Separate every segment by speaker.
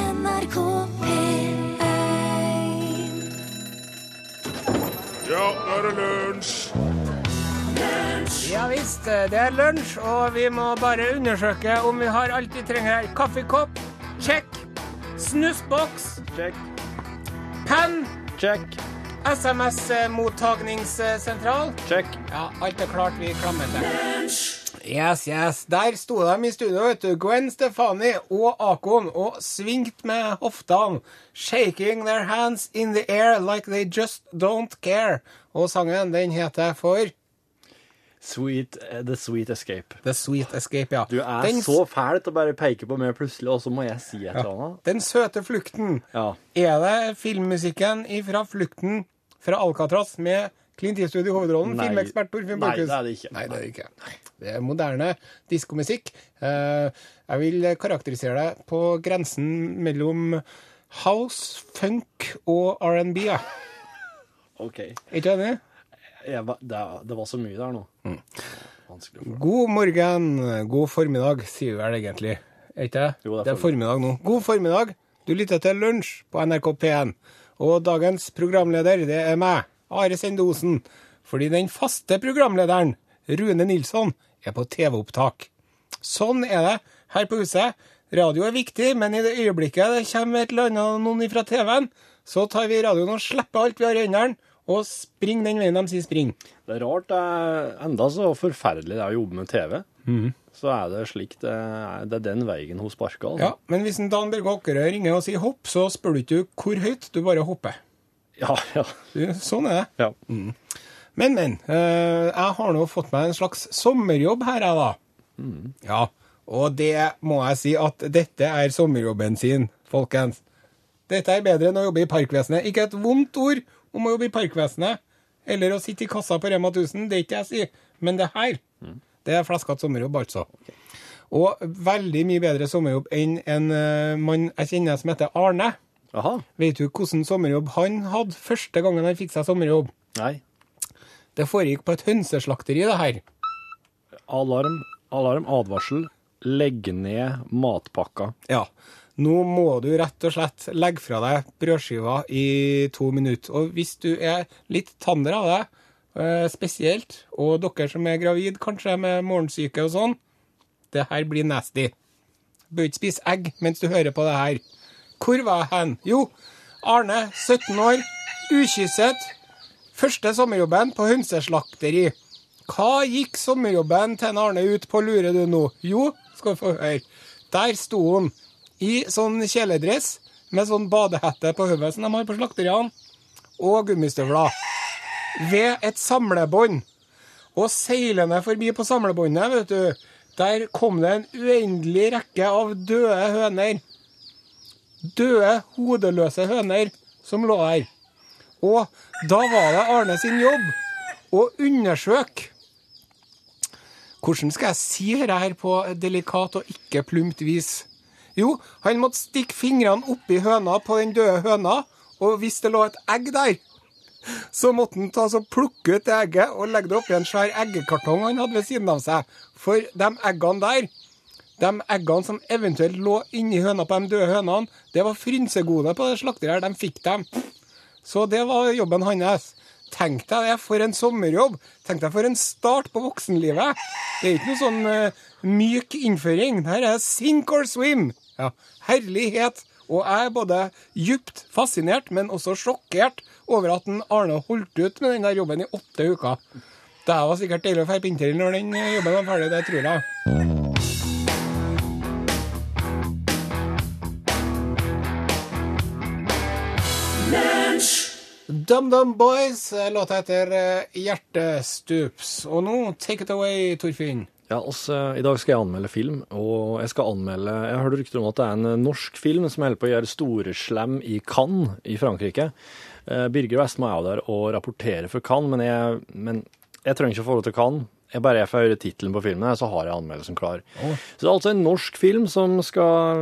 Speaker 1: NRK P1
Speaker 2: Ja, nå er det lunsj!
Speaker 3: Ja visst, eh, det er lunsj, og vi må bare undersøke om vi har alt vi trenger her. Kaffekopp, check. Snusboks,
Speaker 4: Check,
Speaker 3: penn,
Speaker 4: check,
Speaker 3: SMS-mottagningssentral.
Speaker 4: check.
Speaker 3: Ja, alt er klart, vi klammer til. Yes, yes. Der sto de i studio, vet du. Gwen Stefani og Akon, og svingt med hoftene. Shaking their hands in the air like they just don't care. Og sangen, den heter for
Speaker 4: Sweet, eh, the sweet escape.
Speaker 3: The Sweet Escape, ja.
Speaker 4: Du er
Speaker 3: Den-
Speaker 4: så fæl til å bare peke på meg plutselig, og så må jeg si et eller
Speaker 3: Ja.
Speaker 4: annet.
Speaker 3: Den søte flukten.
Speaker 4: Ja.
Speaker 3: Er det filmmusikken fra Flukten fra Alcatraz med Clint Eastwood i hovedrollen?
Speaker 4: Nei.
Speaker 3: Filmekspert Torfinn
Speaker 4: Nei,
Speaker 3: Borchhus.
Speaker 4: det er det ikke.
Speaker 3: Nei, det er det ikke. Det er moderne diskomusikk. Eh, Jeg vil karakterisere det på grensen mellom house, funk og R&B. ja.
Speaker 4: OK.
Speaker 3: Er ikke enig?
Speaker 4: Jeg, var- det, er- det var så mye der nå.
Speaker 3: Mm.
Speaker 4: Vanskelig å få.
Speaker 3: God morgen, god formiddag, sier vi vel egentlig. Er ikke det?
Speaker 4: Jo, det er
Speaker 3: det er formiddag nå. God formiddag. Du lytter til Lunsj på NRK P1. Og dagens programleder, det er meg, Are Sende Osen. Fordi den faste programlederen, Rune Nilsson, er på TV-opptak. Sånn er det her på huset. Radio er viktig, men i det øyeblikket det kommer et eller annet noen fra TV-en, så tar vi radioen og slipper alt vi har i hendene, og springer den veien de sier spring.
Speaker 4: Det er rart. Det er enda så forferdelig det er å jobbe med TV.
Speaker 3: Mm-hmm.
Speaker 4: Så er det slik det er. Det er den veien hun sparker. Altså.
Speaker 3: Ja, men hvis en Dan Børge Åkerø ringer og sier hopp, så spør du ikke hvor høyt, du bare hopper.
Speaker 4: Ja, ja,
Speaker 3: Du, Sånn er det.
Speaker 4: ja.
Speaker 3: Men, men. eh, jeg har nå fått meg en slags sommerjobb her, jeg, da. Ja. Og det må jeg si at dette er sommerjobben sin, folkens. Dette er bedre enn å jobbe i Parkvesenet. Ikke et vondt ord om å jobbe i Parkvesenet eller å sitte i kassa på Rema 1000, det er ikke det jeg sier. Men det her, det er flaskete sommerjobb, altså. Og veldig mye bedre sommerjobb enn en eh, mann jeg kjenner som heter Arne.
Speaker 4: Aha.
Speaker 3: Vet du hvordan sommerjobb han hadde første gangen han fikk seg sommerjobb?
Speaker 4: Nei.
Speaker 3: Det foregikk på et hønseslakteri, det her.
Speaker 4: Alarm, alarm, advarsel. Legg ned matpakka.
Speaker 3: Ja. Nå må du rett og slett legge fra deg brødskiva i to minutter. Og hvis du er litt tander av det, eh, spesielt, og dere som er gravid, kanskje med morgensyke og sånn, det her blir nasty. Bør ikke spise egg mens du hører på det her. Hvor var jeg hen? Jo, Arne, 17 år, ukysset. Første sommerjobben på hønseslakteri. Hva gikk sommerjobben til en Arne ut på, lurer du nå? Jo, skal du få høre. Der sto han i sånn kjeledress med sånn badehette på hodet som de har på slakteriene, og gummistøvler. Ved et samlebånd. Og seilende forbi på samlebåndet, vet du, der kom det en uendelig rekke av døde høner. Døde, hodeløse høner som lå der. Og da var det Arne sin jobb å undersøke Hvordan skal jeg si dette her på delikat og ikke plumpt vis? Jo, han måtte stikke fingrene oppi høna på den døde høna, og hvis det lå et egg der, så måtte han ta så plukke ut det egget og legge det oppi en svær eggekartong han hadde ved siden av seg. For de eggene der, de eggene som eventuelt lå inni høna på de døde hønene, det var frynsegode på det slakteriet her. De fikk dem. Så det var jobben hans. Tenk deg det, for en sommerjobb. Tenk deg for en start på voksenlivet. Det er ikke noe sånn eh, myk innføring. Her er sink or swim. Ja, herlighet. Og jeg er både djupt fascinert, men også sjokkert over at en Arne holdt ut med den der jobben i åtte uker. Det her var sikkert deilig å dra på interrail når den eh, jobben var ferdig, det tror jeg. DumDum Boys, eh, låta heter eh, Hjertestups. Og nå, take it away, Torfinn.
Speaker 4: Ja, altså, I dag skal jeg anmelde film, og jeg skal anmelde Jeg hørte rykter om at det er en eh, norsk film som holder på å gjøre storeslam i Cannes i Frankrike. Eh, Birger Westmo er jo der og rapporterer for Cannes, men jeg, men jeg trenger ikke å forholde til Cannes. Jeg bare jeg får høre tittelen på filmen, her, så har jeg anmeldelsen klar. Så det er altså en norsk film som skal,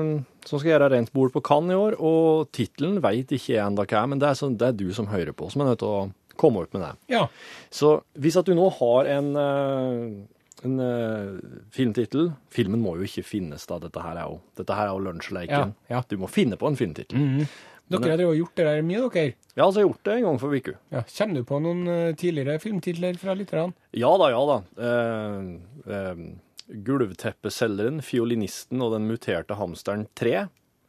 Speaker 4: som skal gjøre rent bord på Cannes i år, og tittelen veit ikke jeg ennå hva er, men det er, sånn, det er du som hører på, som er nødt til å komme opp med det.
Speaker 3: Ja.
Speaker 4: Så hvis at du nå har en, eh, en uh, filmtittel. Filmen må jo ikke finnes, da. Dette her er jo, dette her er jo lunsjleiken.
Speaker 3: Ja, Mm. ja.
Speaker 4: Du må finne på en filmtittel.
Speaker 3: Dere har drevet og gjort det der mye, dere.
Speaker 4: Ja, altså, jeg har gjort det en gang for uke.
Speaker 3: Ja. Kommer du på noen eh, tidligere filmtitler fra lytterne?
Speaker 4: Ja da, ja da. Eh, eh, Gulvteppeselgeren, fiolinisten og den muterte hamsteren 3.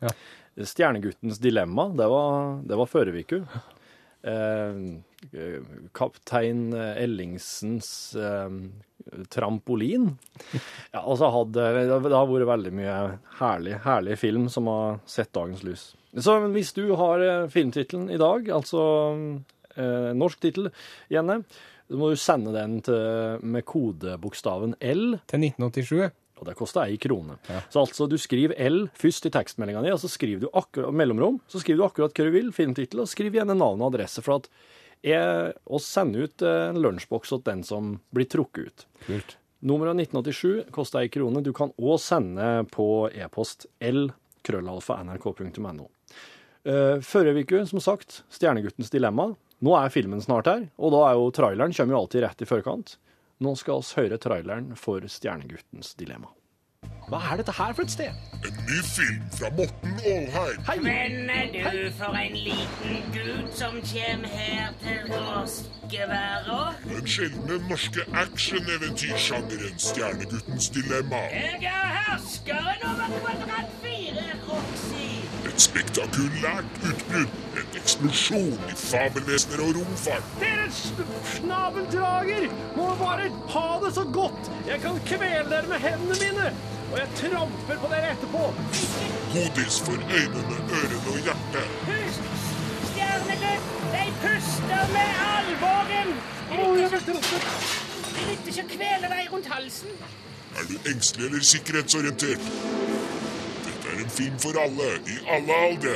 Speaker 3: Ja.
Speaker 4: Stjerneguttens dilemma, det var, det var forrige uke. Eh, eh, Kaptein Ellingsens eh, trampolin. Ja, altså hadde, det har vært veldig mye herlig, herlig film som har sett dagens lys. Så hvis du har eh, filmtittelen i dag, altså eh, norsk tittel, Jenne, så må du sende den til, med kodebokstaven L,
Speaker 3: Til 1987?
Speaker 4: og det koster ei krone. Så altså, du skriver L først i tekstmeldinga di, og så skriver du akkurat mellomrom, så skriver du akkurat hva du vil, filmtittel, og skriv gjerne navn og adresse, for at jeg, og send ut eh, en lunsjboks til den som blir trukket ut.
Speaker 3: Kult.
Speaker 4: Nummeret 1987 koster ei krone. Du kan òg sende på e-post l-nrk.no. Eh, Forrige uke, som sagt, 'Stjerneguttens dilemma'. Nå er filmen snart her, og da er jo traileren kommer jo alltid rett i forkant. Nå skal oss høre traileren for 'Stjerneguttens dilemma'. Hva er dette her for et sted?
Speaker 2: En ny film fra Morten Aalheim.
Speaker 1: Men er du for en liten gutt som kjem her til Roskeværa?
Speaker 2: Den sjeldne norske action-eventyrsjangeren Stjerneguttens dilemma.
Speaker 1: Jeg er herskeren over kvadrat fire, Roxy.
Speaker 2: Et spektakulært utbrudd. En eksplosjon i fabelvesener og romfart.
Speaker 4: Deres snabeldrager må bare ha det så godt! Jeg kan kvele dere med hendene mine! Og jeg tramper på dere etterpå!
Speaker 2: Godis for øynene, ørene og hjertet.
Speaker 1: Pust, stjernegutt. De puster med alvoren. Jeg vil ikke- jeg vil ikke kvele deg rundt halsen.
Speaker 2: Er du engstelig eller sikkerhetsorientert? Dette er en film for alle, i alle aldre.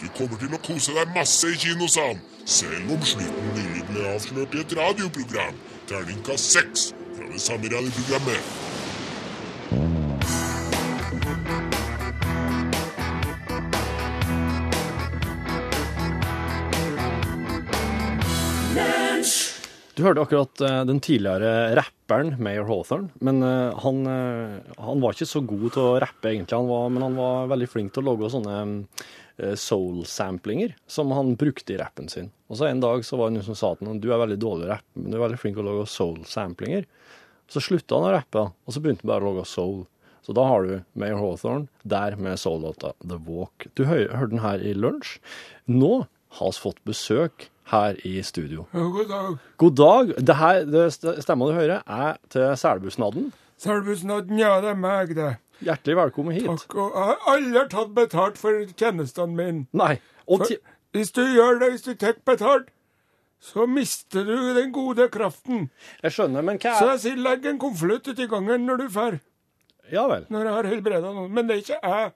Speaker 2: Du kommer til å kose deg masse i kinosalen, selv om slutten nylig ble avslørt i et radioprogram. Terningkast seks fra det samme radioprogrammet.
Speaker 4: Du hørte akkurat eh, den tidligere rapperen Mayor Hawthorne, men eh, han, eh, han var ikke så god til å rappe egentlig, han var, men han var veldig flink til å logge sånne eh, soul-samplinger som han brukte i rappen sin. Og så en dag så var det noen som sa til ham, du er veldig dårlig til å rappe, men du er veldig flink til å logge soul-samplinger. Så slutta han å rappe, og så begynte han bare å logge soul. Så da har du Mayor Hawthorne der med soul-låta The Walk. Du hø hørte den her i lunsj. Nå har vi fått besøk her i studio.
Speaker 3: God dag.
Speaker 4: God dag. Det her, det st- stemma du hører, er til Selbusnadden.
Speaker 3: Selbusnadden, ja, det er meg, det.
Speaker 4: Hjertelig velkommen hit.
Speaker 3: Takk. Og jeg har aldri tatt betalt for tjenestene mine.
Speaker 4: Nei. Og
Speaker 3: For,
Speaker 4: ti
Speaker 3: hvis du gjør det, hvis du tar betalt, så mister du den gode kraften.
Speaker 4: jeg skjønner, men hva
Speaker 3: Så
Speaker 4: er
Speaker 3: jeg sier legg en konvolutt uti gangen når du drar,
Speaker 4: Ja vel.
Speaker 3: når jeg har helbreda noen. Men det er ikke jeg.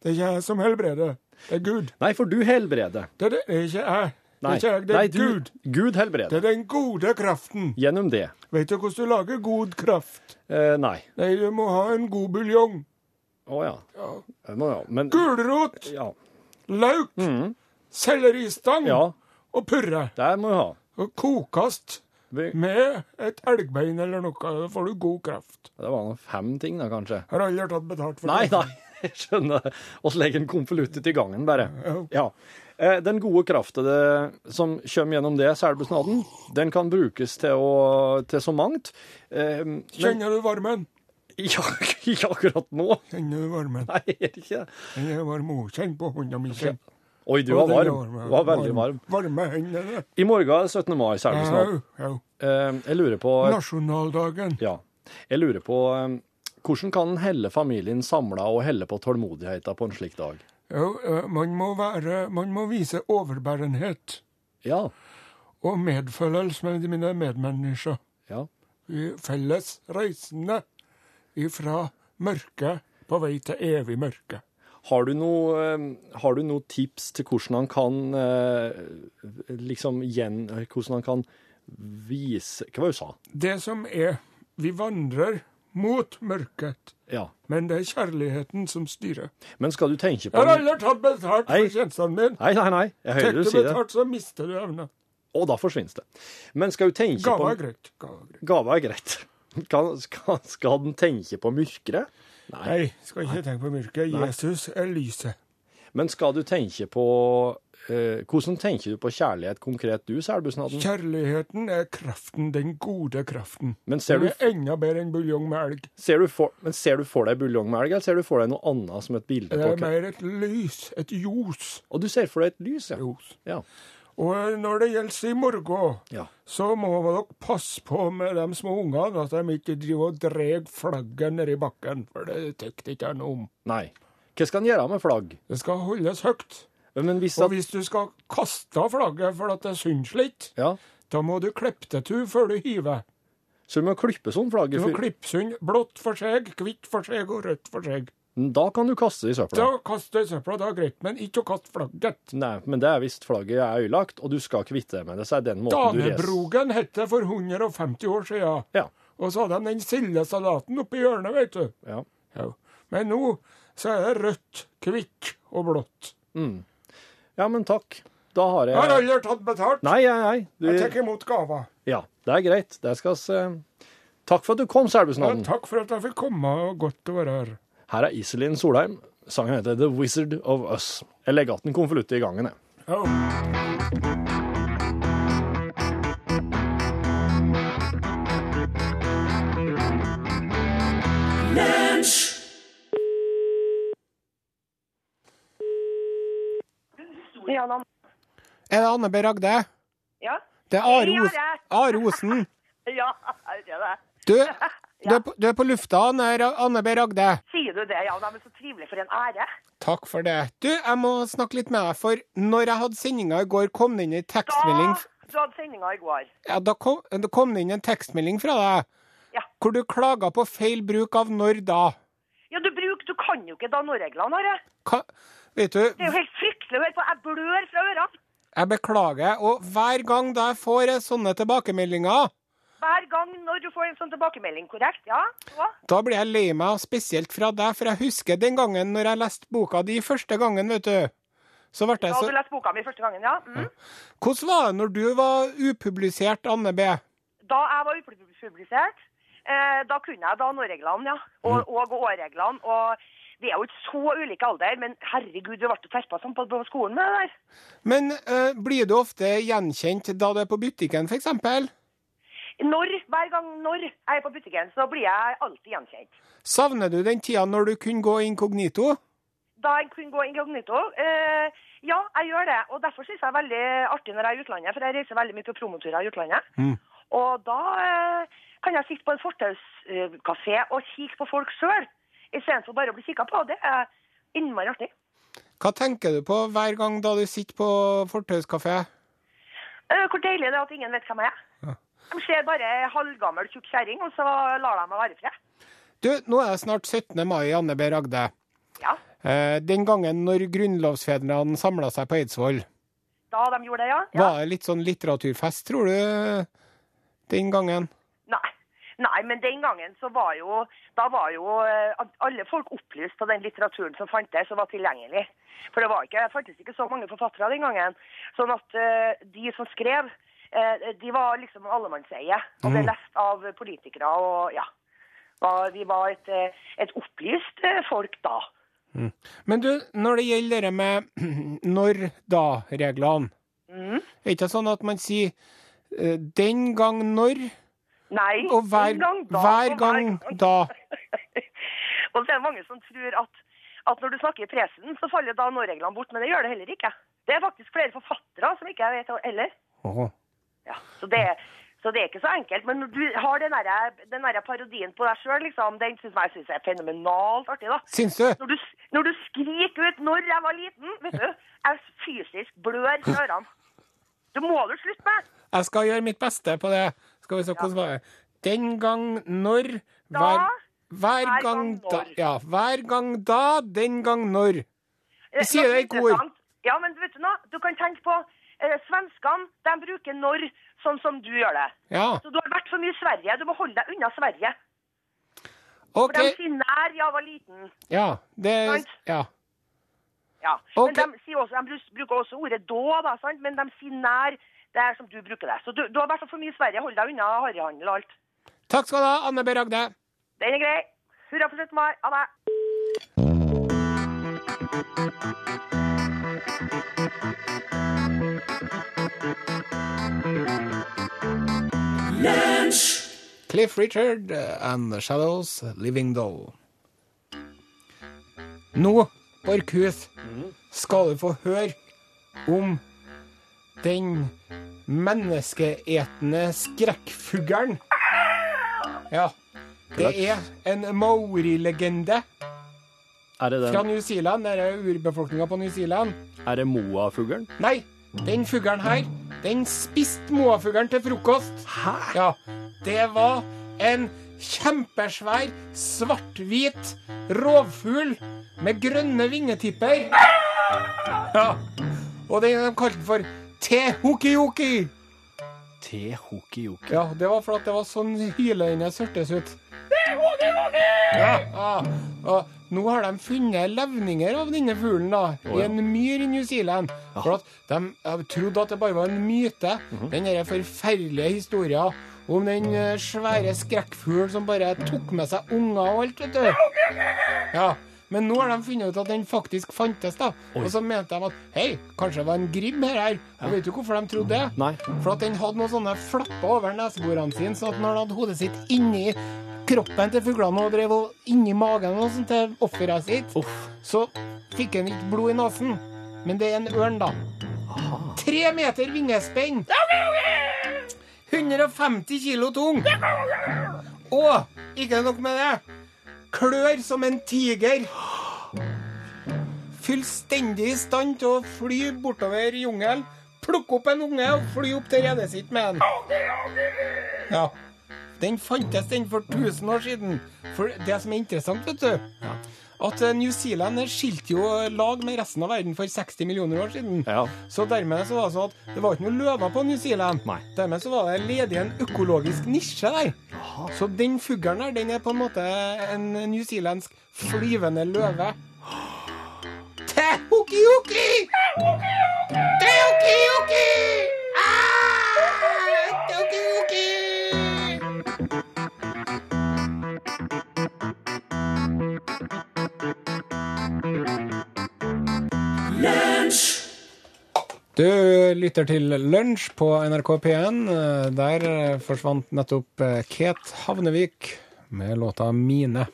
Speaker 3: Det er ikke jeg som helbreder. Det er Gud.
Speaker 4: Nei, for du helbreder.
Speaker 3: Det er, det er ikke jeg. Det
Speaker 4: Nei,
Speaker 3: er ikke jeg, det er
Speaker 4: Nei, du,
Speaker 3: Gud.
Speaker 4: Gud
Speaker 3: Det
Speaker 4: helbreder.
Speaker 3: er den gode kraften.
Speaker 4: Gjennom det.
Speaker 3: Vet du hvordan du lager god kraft?
Speaker 4: Eh, nei.
Speaker 3: Nei, du må ha en god buljong.
Speaker 4: Å ja. Eh, Nå, ja. Men
Speaker 3: Gulrot,
Speaker 4: ja.
Speaker 3: lauk, selleristang
Speaker 4: Mm. ja,
Speaker 3: og purre.
Speaker 4: det må du ha.
Speaker 3: Og kokast
Speaker 4: Vi-
Speaker 3: med et elgbein eller noe. Da får du god kraft.
Speaker 4: Det var nå fem ting, da, kanskje.
Speaker 3: Har aldri tatt betalt for
Speaker 4: Nei,
Speaker 3: det.
Speaker 4: nei. Jeg skjønner. Og legg en konvolutt ut i gangen, bare.
Speaker 3: Ja.
Speaker 4: Ja. Eh, Den gode kraften det, som kommer gjennom det, selbusnaden, den kan brukes til, å, til så mangt. Eh, Men
Speaker 3: Kjenner du varmen?
Speaker 4: ja, ikke akkurat nå.
Speaker 3: Kjenner du varmen?
Speaker 4: Nei, er det ikke det?
Speaker 3: Den er varm. og Kjenn på hånda mi. kjenn.
Speaker 4: Oi, du var
Speaker 3: Å, den er
Speaker 4: varm. Du var veldig varm.
Speaker 3: Varme hendene.
Speaker 4: I morgen er det 17. mai, selbusnaden.
Speaker 3: Au, au.
Speaker 4: Eh, Jeg lurer på
Speaker 3: Nasjonaldagen.
Speaker 4: Ja. Jeg lurer på eh, hvordan kan en helle familien samla og helle på tålmodigheten på en slik dag?
Speaker 3: Jo, eh, man må være Man må vise overbærenhet.
Speaker 4: Ja.
Speaker 3: og medfølelse med mine medmennesker.
Speaker 4: Ja.
Speaker 3: Vi felles reisende ifra mørke på vei til evig mørke.
Speaker 4: Har du noen har du noe tips til hvordan han kan eh, liksom gjen... Hvordan han kan vise Hva var det du sa?
Speaker 3: Det som er, vi vandrer mot mørket,
Speaker 4: Ja.
Speaker 3: men det er kjærligheten som styrer.
Speaker 4: Men skal du tenke
Speaker 3: Jeg
Speaker 4: på
Speaker 3: har aldri tatt betalt
Speaker 4: Nei.
Speaker 3: for tjenestene mine.
Speaker 4: Nei, nei, nei.
Speaker 3: Tar
Speaker 4: Jeg hører
Speaker 3: du
Speaker 4: du si det.
Speaker 3: betalt, så mister du evne.
Speaker 4: Og da forsvinner det. Men skal du tenke
Speaker 3: Gava
Speaker 4: på
Speaker 3: er greit. Gava er greit.
Speaker 4: Gava er greit. Kan, skal, skal den tenke på mørket? Nei.
Speaker 5: Nei, skal ikke tenke på mørket. Jesus er lyset.
Speaker 4: Men skal du tenke på eh, Hvordan tenker du på kjærlighet konkret, du, selbusnaden?
Speaker 5: Kjærligheten er kraften, den gode kraften.
Speaker 4: Men ser du,
Speaker 5: Den er enda bedre enn buljong med elg.
Speaker 4: ser du, for, men ser du for deg buljong med elg, eller ser du for deg noe annet som et bilde
Speaker 5: Det
Speaker 4: på
Speaker 5: er mer et lys, et ljos.
Speaker 4: Og du ser for deg et lys, ja.
Speaker 5: Ljos.
Speaker 4: ja.
Speaker 5: Og når det gjelder i morgen,
Speaker 4: Ja.
Speaker 5: så må dere passe på med de små ungene, at de ikke driver og drar flagget nedi bakken, for det tykker ikke jeg noe om.
Speaker 4: Nei. Hva skal en gjøre med flagg?
Speaker 5: Det skal holdes høyt.
Speaker 4: Men hvis
Speaker 5: Og
Speaker 4: at,
Speaker 5: hvis du skal kaste flagget for at det syns litt,
Speaker 4: ja,
Speaker 5: da må du klippe det til før du hiver.
Speaker 4: så du må klippe sånn flagg.
Speaker 5: Du må
Speaker 4: for-
Speaker 5: klippe sund blått for seg, hvitt for seg og rødt for seg.
Speaker 4: Da kan du kaste det i søpla.
Speaker 5: Da kaster jeg søpla, det er greit, men ikke å kaste flagget.
Speaker 4: Nei, men det er hvis flagget er ødelagt, og du skal kvitte deg med det. Så er den måten du res-
Speaker 5: Danebrogen het det for 150 år siden.
Speaker 4: Ja.
Speaker 5: Og så hadde de den sildesalaten oppi hjørnet, vet du.
Speaker 4: ja.
Speaker 5: Ja. Men nå så er det rødt, kvitt og blått.
Speaker 4: Ja, men takk. Da har jeg
Speaker 5: Jeg har aldri tatt betalt.
Speaker 4: Nei, nei, nei. Du...
Speaker 5: Jeg tar imot gaver.
Speaker 4: Ja, det er greit. Det skal vi Takk for at du kom,
Speaker 5: Ja,
Speaker 4: Selbusnaden.
Speaker 5: takk for at jeg fikk komme, og godt å være her.
Speaker 4: Her er Iselin Solheim. Sangen heter The Wizard of Us. Jeg legger igjen konvolutten i gangen, jeg.
Speaker 5: Ja.
Speaker 6: Ja, da.
Speaker 3: Er det Anne B. Ragde?
Speaker 6: Ja.
Speaker 3: Det er Are,
Speaker 6: Ja,
Speaker 3: Os
Speaker 6: det er.
Speaker 3: Are Osen.
Speaker 6: ja, det er det.
Speaker 3: Du, du, er på, du er på lufta, Anne Ra- Anne B. Ragde.
Speaker 6: Sier du det? Ja, nei, men så trivelig for en ære.
Speaker 3: Takk for det. Du, jeg må snakke litt med deg, for når jeg hadde sendinga i går, kom det inn en tekstmelding
Speaker 6: Ah, du hadde sendinga i går.
Speaker 3: ja, Da kom, da kom det inn en tekstmelding fra deg
Speaker 6: Ja.
Speaker 3: hvor du klaga på feil bruk av når da.
Speaker 6: Ja, du bruk, du kan jo ikke da reglene Are.
Speaker 3: Hva, vet du,
Speaker 6: Det er jo helt fryktelig å høre på. Jeg blør fra ørene.
Speaker 3: jeg beklager, og hver gang da jeg får sånne tilbakemeldinger,
Speaker 6: Hver gang når du får en sånn tilbakemelding, korrekt? Ja? Så?
Speaker 3: da blir jeg lei meg, og spesielt fra deg, for jeg husker den gangen når jeg leste boka di første gangen, vet du. Så ble
Speaker 6: Da
Speaker 3: jeg så
Speaker 6: hadde du lest boka mi første gangen, ja? Mm.
Speaker 3: Hvordan var det når du var upublisert, Anne B?
Speaker 6: Da jeg var upublisert, eh, da kunne jeg da reglene ja. Og, og årreglene. Og vi er jo ikke så ulike alder, men herregud, vi ble jo terpa sånn på, på skolen med det der.
Speaker 3: Men eh, blir du ofte gjenkjent da du er på butikken, f.eks.?
Speaker 6: Når, hver gang når jeg er på butikken, så blir jeg alltid gjenkjent.
Speaker 3: Savner du den tida når du kunne gå inkognito?
Speaker 6: Da jeg kunne gå inkognito eh, Ja, jeg gjør det. Og derfor syns jeg det er veldig artig når jeg er i utlandet, for jeg reiser veldig mye på promoturer i utlandet. Og da eh, kan jeg sitte på en fortauskafé og kikke på folk sjøl, istedenfor bare å bli kikka på. Det er innmari artig.
Speaker 3: Hva tenker du på hver gang da du sitter på fortauskafé?
Speaker 6: Eh, hvor deilig det er at ingen vet hvem jeg er. De ser bare ei halvgammel, tjukk kjerring, og så lar de meg være i fred.
Speaker 3: Du, nå er det snart 17. mai, Anne B. Ragde.
Speaker 6: Ja,
Speaker 3: Eh, den gangen når grunnlovsfedrene samla seg på Eidsvoll,
Speaker 6: da de gjorde det, ja. ja.
Speaker 3: var det litt sånn litteraturfest, tror du? Den gangen?
Speaker 6: Nei. Nei, men den gangen så var jo, da var jo eh, at alle folk opplyst på den litteraturen som fantes og var tilgjengelig. For det var ikke, det fantes ikke så mange forfattere den gangen. Sånn at eh, de som skrev, eh, de var liksom allemannseie. Og ble lest av politikere og ja. Var- Vi var et, eh, et opplyst eh, folk da.
Speaker 3: Men du, når det gjelder det med når-da-reglene,
Speaker 6: Mm.
Speaker 3: er ikke det sånn at man sier eh, den gang når,
Speaker 6: Nei,
Speaker 3: og hver,
Speaker 6: en gang da.
Speaker 3: hver
Speaker 6: og
Speaker 3: gang da?
Speaker 6: og så er det mange som tror at, at når du snakker i presen, så faller da nå-reglene bort, men det gjør det heller ikke. Det er faktisk flere forfattere som ikke jeg vet heller.
Speaker 3: Åhå.
Speaker 6: Ja, så, det, så det er ikke så enkelt. Men når du har den derre den derre parodien på deg sjøl, liksom, den syns jeg synes er fenomenalt artig, da.
Speaker 3: Syns du?
Speaker 6: Når du, når du skriker ut 'når jeg var liten', vet du, jeg fysisk blør i ørene. Det må du slutte med.
Speaker 3: Jeg skal gjøre mitt beste på det. Skal vi se hvordan var det Den gang når hver, hver gang
Speaker 6: hver gang
Speaker 3: da
Speaker 6: når.
Speaker 3: Ja, hver gang da, den gang når.
Speaker 6: Eh,
Speaker 3: sier
Speaker 6: noe
Speaker 3: det i kor.
Speaker 6: interessant. Ja, men vet du noe? Du kan tenke på eh, svenskene. De bruker 'når' sånn som du gjør det.
Speaker 3: Ja,
Speaker 6: Så du har vært for mye i Sverige. Du må holde deg unna Sverige. For
Speaker 3: OK.
Speaker 6: de sier 'nær jeg var liten'.
Speaker 3: Ja, det
Speaker 6: Sant.
Speaker 3: Ja.
Speaker 6: Ja.
Speaker 3: Ok.
Speaker 6: Men de, sier også, de brus- bruker også ordet 'da', da, sant? men de sier 'nær'. Det er som du bruker det. Så du, du har vært for mye i Sverige. Hold deg unna harryhandel og alt.
Speaker 3: Takk skal du ha, Anne B. Ragde.
Speaker 6: Den er grei. Hurra for 17. mai. Ha det.
Speaker 3: Cliff Richard and The Shadows Living Doll. Nå, Borkhus, skal du få høre om den menneskeetende skrekkfuglen. Ja. Det er en maorilegende
Speaker 4: Er det,
Speaker 3: fra
Speaker 4: den,
Speaker 3: New Zealand. Det er urbefolkninga på New Zealand.
Speaker 4: er det moafuglen?
Speaker 3: Nei, den fuglen her, den spiste moafuglen til frokost. Hæ? Ja, det var en kjempesvær, svart-hvit rovfugl med grønne vingetipper. Ja, og den de kalte den for Tehokioki.
Speaker 4: Tehokiyoki.
Speaker 3: Ja, det var fordi det var sånn hylende hørtes ut. Ja, og nå har de funnet levninger av denne fuglen da, i en myr i New Zealand. For at de eh, trodde at det bare var en myte, den der forferdelige historien om den eh, svære skrekkfuglen som bare tok med seg unger og alt, vet du. Ja, men nå har de funnet ut at den faktisk fantes, da. Og så mente de at hei, kanskje det var en gribb her. her. Og vet du hvorfor de trodde det?
Speaker 4: Nei.
Speaker 3: For at den hadde noen sånne flapper over neseborene sine, sånn at når den hadde hodet sitt inni kroppen til fuglene og drev og inni magen og sånt til offeret sitt, så fikk den ikke blod i nesen. Men det er en ørn, da. Tre meter vingespenn! 150 kilo tung! Og ikke nok med det klør som en tiger. Fullstendig i stand til å fly bortover jungelen, plukke opp en unge og fly opp til redet sitt med den. Ja. Den fantes den for 1000 år siden. For det som er interessant, vet du At eh, New Zealand eh, skilte jo lag med resten av verden for 60 millioner år siden.
Speaker 4: Ja.
Speaker 3: Så dermed så var det sånn at det var ikke noen løver på New Zealand.
Speaker 4: Nei.
Speaker 3: Dermed så var det ledig en økologisk nisje der. Så den fuglen der, den er på en måte en newzealandsk flyvende løve. Tehokioki! Tehokioki! Ah! Tehokioki! Du lytter til Lunsj på NRK P1. Der forsvant nettopp Kate Havnevik med låta 'Mine'.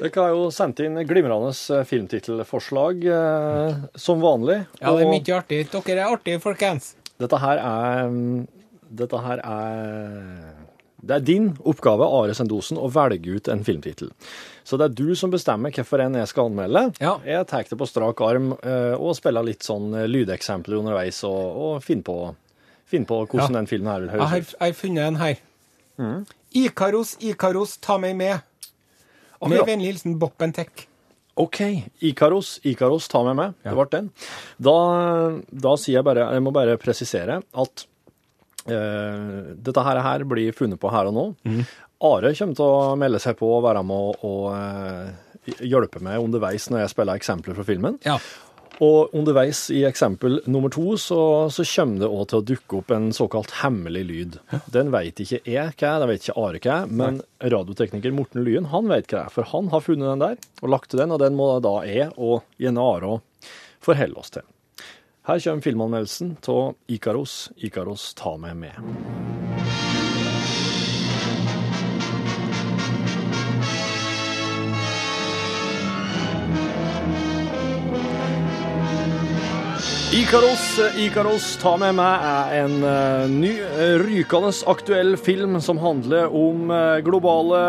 Speaker 4: Dere har jo sendt inn glimrende eh, filmtittelforslag, eh, som vanlig.
Speaker 3: Ja, det er
Speaker 4: og
Speaker 3: mye artig. Dere er artige, folkens.
Speaker 4: Dette her er mm, Dette her er det er din oppgave, Are Sendosen, å velge ut en filmtittel. Så det er du som bestemmer hvilken en jeg skal anmelde.
Speaker 3: Ja.
Speaker 4: Jeg tar det på strak arm eh, og spiller litt sånn eh, lydeksempler underveis og, og finner på, finner på hvordan den filmen her vil
Speaker 3: Jeg har,
Speaker 4: høres ut.
Speaker 3: jeg har funnet en her. Ikaros, Ikaros, ta meg med. Med
Speaker 4: Akkurat.
Speaker 3: vennlig hilsen Boppen Tech.
Speaker 4: OK. Ikaros, Ikaros, ta med meg. Det ble den. Da, da sier jeg bare Jeg må bare presisere at eh, dette her, her blir funnet på her og nå. Are kommer til å melde seg på og være med og eh, hjelpe meg underveis når jeg spiller eksempler fra filmen.
Speaker 3: Ja.
Speaker 4: Og underveis i eksempel nummer to så, så kommer det også til å dukke opp en såkalt hemmelig lyd. Den vet ikke jeg hva er, den vet ikke Are hva er, men radiotekniker Morten Lyen han vet hva det er, for han har funnet den der og lagt til den, og den må da jeg og gjerne Are også forholde oss til. Her kommer filmanmeldelsen av Ikaros, Ikaros ta meg med. Ikaros, Ikaros, ta med meg er en eh, ny, eh, rykende aktuell film som handler om eh, globale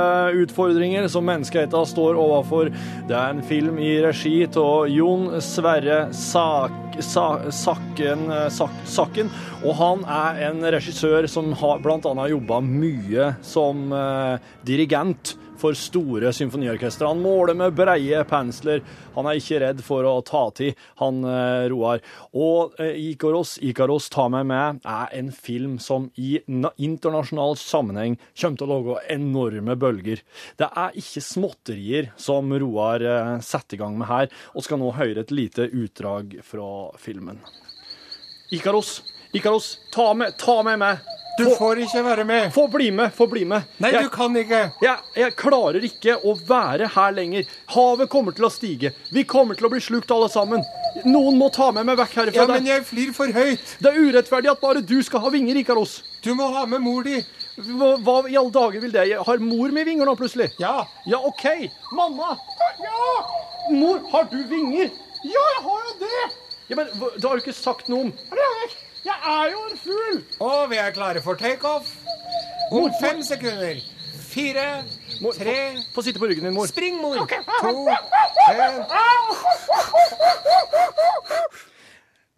Speaker 4: utfordringer som menneskeheten står overfor. Det er en film i regi av Jon Sverre Sak, Sa, Sakken, eh, Sak, Sakken, og han er en regissør som har bl.a. jobba mye som eh, dirigent for store symfoniorkestre. Han måler med breie pensler. Han er ikke redd for å ta til, han eh, Roar. Og eh, Ikaros, Ikaros ta meg med, er en film som i na- internasjonal sammenheng kommer til å lage enorme bølger. Det er ikke småtterier som Roar eh, setter i gang med her, og skal nå høre et lite utdrag fra filmen. Ikaros, Ikaros, ta med, ta med meg!
Speaker 5: Du får ikke være med!
Speaker 4: Få bli med, få bli med.
Speaker 5: Nei,
Speaker 4: jeg,
Speaker 5: du kan ikke!
Speaker 4: jeg, jeg klarer ikke å være her lenger. Havet kommer til å stige. Vi kommer til å bli slukt alle sammen. Noen må ta med meg vekk herifra.
Speaker 5: Ja, men
Speaker 4: Det-
Speaker 5: jeg flyr for høyt!
Speaker 4: Det er urettferdig at bare du skal ha vinger, Ikaros.
Speaker 5: Du må ha med mor di!
Speaker 4: Hva, hva i alle dager vil det? Jeg har mor med vinger nå, plutselig?
Speaker 5: Ja.
Speaker 4: Ja, OK. Mamma! Ja! Mor, har du vinger? Ja, jeg har jo det. Ja, Men hva- da har du ikke sagt noe om Jeg er jo en fugl!
Speaker 5: Og vi er klare for takeoff om fem sekunder. Fire, tre
Speaker 4: Få sitte på ryggen din, mor.
Speaker 5: Spring, mor! To, en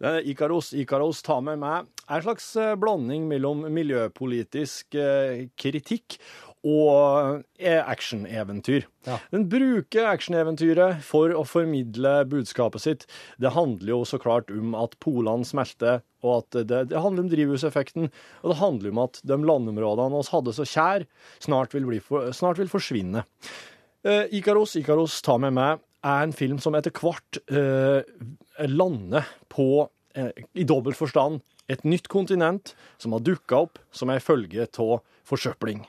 Speaker 4: Det er Ikaros, Ikaros, ta med meg. er en slags eh, blanding mellom miljøpolitisk eh, kritikk og eh, actioneventyr. Den bruker actioneventyret for å formidle budskapet sitt. Det handler jo så klart om at polene smelter, og at det, det handler om drivhuseffekten, og det handler om at de landområdene oss hadde så kjær, snart vil, bli for, snart vil forsvinne. Eh, Ikaros, Ikaros, ta med meg er en film som etter hvert eh, lander på, eh, i dobbelt forstand, et nytt kontinent som har dukka opp som ei følge av forsøpling.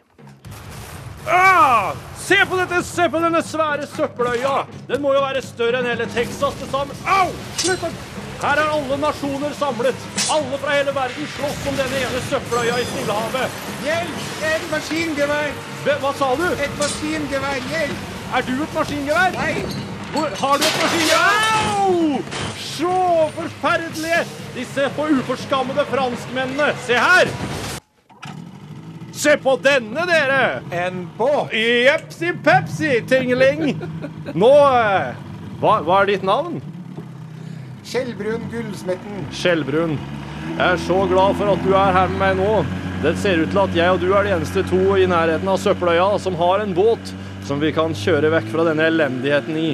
Speaker 4: Ah! Se på dette, se på denne svære søppeløya! Den må jo være større enn hele Texas til sammen. Au! Slutt å- Her er alle nasjoner samlet. Alle fra hele verden slåss om denne ene søppeløya i Stillehavet.
Speaker 5: Hjelp! Et maskingevær!
Speaker 4: Hva hva sa du?
Speaker 5: Et maskingevær! Hjelp!
Speaker 4: Er du et maskingevær?
Speaker 5: Nei!
Speaker 4: Hvor, har du et maskin? Au! Så forferdelige! Disse på uforskammede franskmennene. Se her! Se på denne, dere!
Speaker 5: En båt!
Speaker 4: Jepsi pepsi, tingeling! Nå eh, hva, hva er ditt navn?
Speaker 5: Skjellbrun Gullsmetten.
Speaker 4: Skjellbrun. Jeg er så glad for at du er her med meg nå. Det ser ut til at jeg og du er de eneste to i nærheten av søppeløya som har en båt som vi kan kjøre vekk fra denne elendigheten i.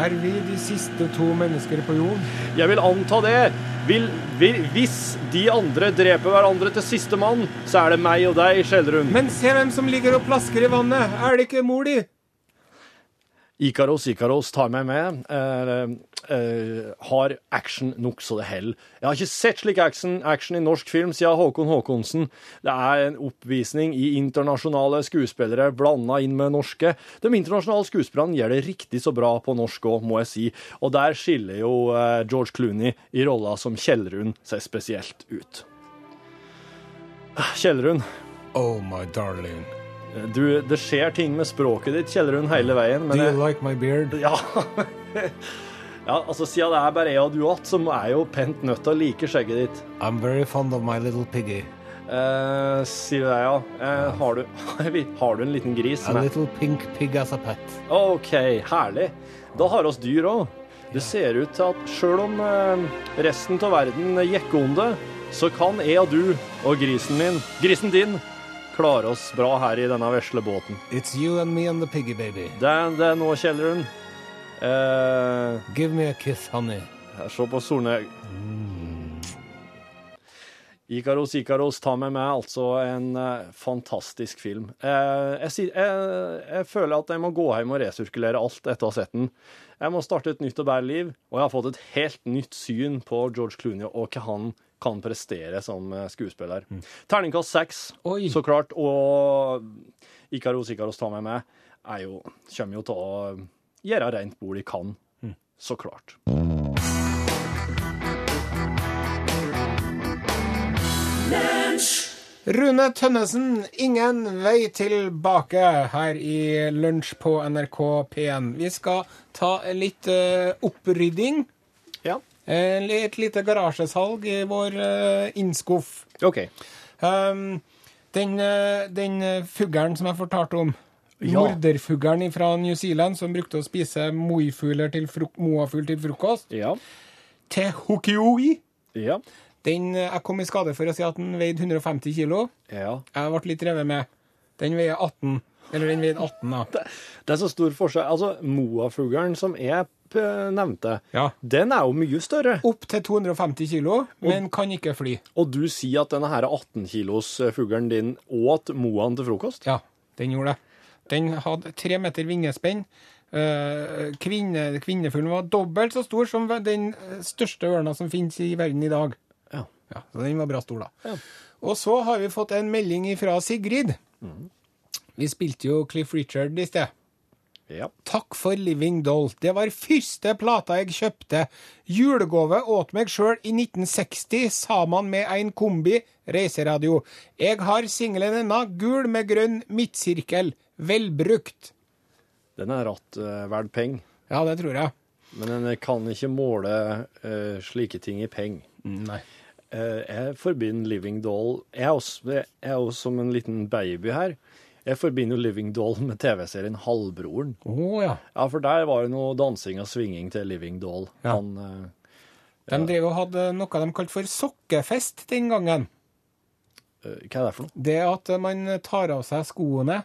Speaker 5: Er vi de siste to mennesker på jorden?
Speaker 4: Jeg vil anta det. Vil, vil, hvis de andre dreper hverandre til siste mann, så er det meg og deg, Skjellerun.
Speaker 5: Men se hvem som ligger og plasker i vannet! Er det ikke mor di?
Speaker 4: Ikaros, Ikaros tar meg med. eh, eh, har action nok så det hell. Jeg har ikke sett slik action, action i norsk film siden Håkon Håkonsen. Det er en oppvisning i internasjonale skuespillere blanda inn med norske. De internasjonale skuespillerne gjør det riktig så bra på norsk òg, må jeg si. Og der skiller jo eh, George Clooney i rolla som Kjellrun seg spesielt ut. Eh, Kjellrun,
Speaker 5: Oh, my darling.
Speaker 4: du, det skjer ting med språket ditt, Kjellrun, hele veien. Men
Speaker 5: Do
Speaker 4: jeg-
Speaker 5: you like my beard?
Speaker 4: ja. ja, altså siden det er bare jeg og du igjen, som er jo pent nødt til å like skjegget ditt.
Speaker 5: I'm very fond of my little piggy.
Speaker 4: Eh, sier det, ja. Eh, har, du, har du en liten gris?
Speaker 5: A
Speaker 4: med?
Speaker 5: little pink pig as a pet.
Speaker 4: OK, herlig. Da har oss dyr òg. Det ser ut til at sjøl om eh, resten av verden jekker om det, så kan jeg og du og grisen min, grisen din, klare oss bra her i denne vesle båten.
Speaker 5: It's you and me and the piggy baby.
Speaker 4: Det, er- det er nå, Kjelleren. Eh,
Speaker 5: Give me a kiss, honey.
Speaker 4: Her, Se på Solnøy. Ikaros, Ikaros, ta med meg altså en eh, fantastisk film. Eh, jeg, si- jeg, jeg føler at jeg må gå hjem og resirkulere alt etter å ha sett den. Jeg må starte et nytt og bedre liv, og jeg har fått et helt nytt syn på George Clooney og hva han kan prestere som eh, skuespiller. Terningkast seks,
Speaker 3: Oi.
Speaker 4: så klart, og Ikaros, Ikaros, ta med meg, er jo, kommer jo til å eh, gjøre rent bord de kan, så klart.
Speaker 3: Rune Tønnesen, 'Ingen vei tilbake' her i Lunsj på NRK P1. Vi skal ta litt eh, opprydding.
Speaker 4: Ja.
Speaker 3: Eh, Et lite garasjesalg i vår eh, innskuff.
Speaker 4: OK.
Speaker 3: Um, den eh, den eh, fuglen som jeg fortalte om,
Speaker 4: Ja.
Speaker 3: morderfuglen fra New Zealand som brukte å spise moifugler til fruk moafugl til frokost,
Speaker 4: Ja.
Speaker 3: til hokioi,
Speaker 4: Ja.
Speaker 3: den eh, jeg kom i skade for å si at den veide 150 kilo.
Speaker 4: ja.
Speaker 3: Jeg ble litt revet med. Den veier 18. Eller den veide 18, da.
Speaker 4: Det er så stor forskjell. Altså, Moafuglen som jeg p nevnte,
Speaker 3: Ja.
Speaker 4: den er jo mye større.
Speaker 3: Opp til 250 kilo, men kan ikke fly.
Speaker 4: Og du sier at denne her 18 kilos eh, fuglen din åt moaen til frokost?
Speaker 3: Ja, den gjorde det. Den hadde tre meter vingespenn. Eh, Kvinne, kvinnefuglen var dobbelt så stor som den største ørna som finnes i verden i dag.
Speaker 4: Ja.
Speaker 3: så den var bra stor, da. Og så har vi fått en melding fra Sigrid. Vi spilte jo Cliff Richard i sted.
Speaker 4: Ja.
Speaker 3: Takk for Living Doll. Det var første plata jeg kjøpte. Julegave åt meg sjøl i 1960 sammen med en kombi reiseradio. Jeg har singelen ennå, gul med grønn midtsirkel. Velbrukt.
Speaker 4: Den er ratt eh, verd peng,
Speaker 3: Ja, det tror jeg.
Speaker 4: men en kan ikke måle eh, slike ting i peng.
Speaker 3: Nei.
Speaker 4: Eh, jeg forbinder Living Doll Jeg er også, jeg er også som en liten baby her. Jeg forbinder jo Living Doll med TV-serien Halvbroren.
Speaker 3: Å ja.
Speaker 4: Ja, for der var det noe dansing og svinging til Living Doll.
Speaker 3: Ja.
Speaker 4: Han, eh,
Speaker 3: De drev og hadde noe de kalte for sokkefest den gangen.
Speaker 4: eh, hva er det for noe?
Speaker 3: Det at man tar av seg skoene,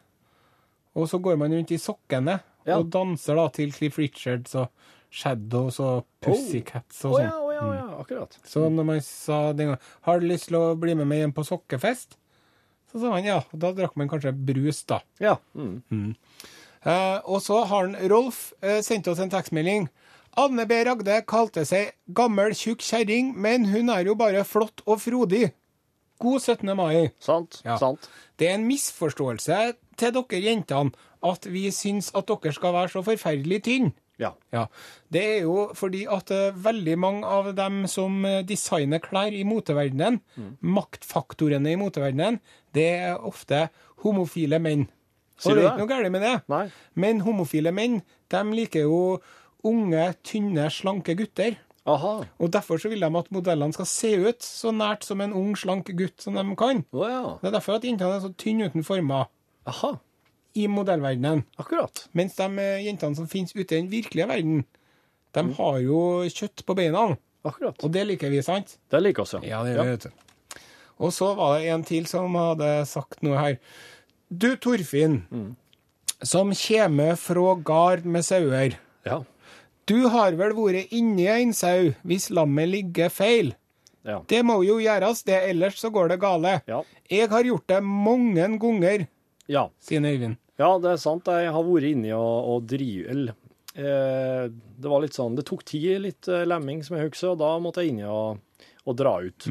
Speaker 3: og så går man rundt i sokkene
Speaker 4: Ja.
Speaker 3: og danser da til Cliff Richards og Shadows og Pussycats
Speaker 4: Å
Speaker 3: og sånn.
Speaker 4: ja, å ja, å ja, akkurat.
Speaker 3: Så når man sa den gangen, har du lyst til å bli med meg hjem på sokkefest? Så sa han ja, og da drakk man kanskje brus da.
Speaker 4: Ja. Mm.
Speaker 3: Eh, og så har han, Rolf eh, sendt oss en tekstmelding. Anne B. Ragde kalte seg gammel tjukk kjerring, men hun er jo bare flott og frodig. God 17. mai.
Speaker 4: Sant.
Speaker 3: Ja.
Speaker 4: Sant.
Speaker 3: Det er en misforståelse til dere jentene at vi syns at dere skal være så forferdelig tynne.
Speaker 4: Ja.
Speaker 3: Ja, Det er jo fordi at eh, veldig mange av dem som eh, designer klær i moteverdenen,
Speaker 4: Mm.
Speaker 3: maktfaktorene i moteverdenen, det er ofte homofile menn.
Speaker 4: Sier
Speaker 3: Og det er
Speaker 4: du det?
Speaker 3: ikke noe galt med det.
Speaker 4: Nei.
Speaker 3: Men homofile menn de liker jo unge, tynne, slanke gutter.
Speaker 4: Aha.
Speaker 3: Og derfor så vil de at modellene skal se ut så nært som en ung, slank gutt som de kan.
Speaker 4: Å ja.
Speaker 3: Det er derfor at jentene er så tynne uten former
Speaker 4: Aha.
Speaker 3: i modellverdenen.
Speaker 4: Akkurat.
Speaker 3: Mens de eh, jentene som finnes ute i den virkelige verden, de
Speaker 4: Mm.
Speaker 3: har jo kjøtt på beina.
Speaker 4: Akkurat.
Speaker 3: Og det liker vi, sant?
Speaker 4: Det liker oss, ja.
Speaker 3: vet du. Og så var det en til som hadde sagt noe her. Du, Torfinn,
Speaker 4: Mm.
Speaker 3: som kommer fra gard med sauer.
Speaker 4: Ja.
Speaker 3: Du har vel vært inni en sau hvis lammet ligger feil?
Speaker 4: Ja.
Speaker 3: Det må jo gjøres, det, ellers så går det gale.
Speaker 4: Ja.
Speaker 3: Jeg har gjort det mange ganger,
Speaker 4: ja.
Speaker 3: sier Øyvind.
Speaker 4: Ja, det er sant. Jeg har vært inni og, og driv... Eller, eh, det var litt sånn Det tok tid, litt eh, lemming, som jeg husker, og da måtte jeg inni og, og dra ut.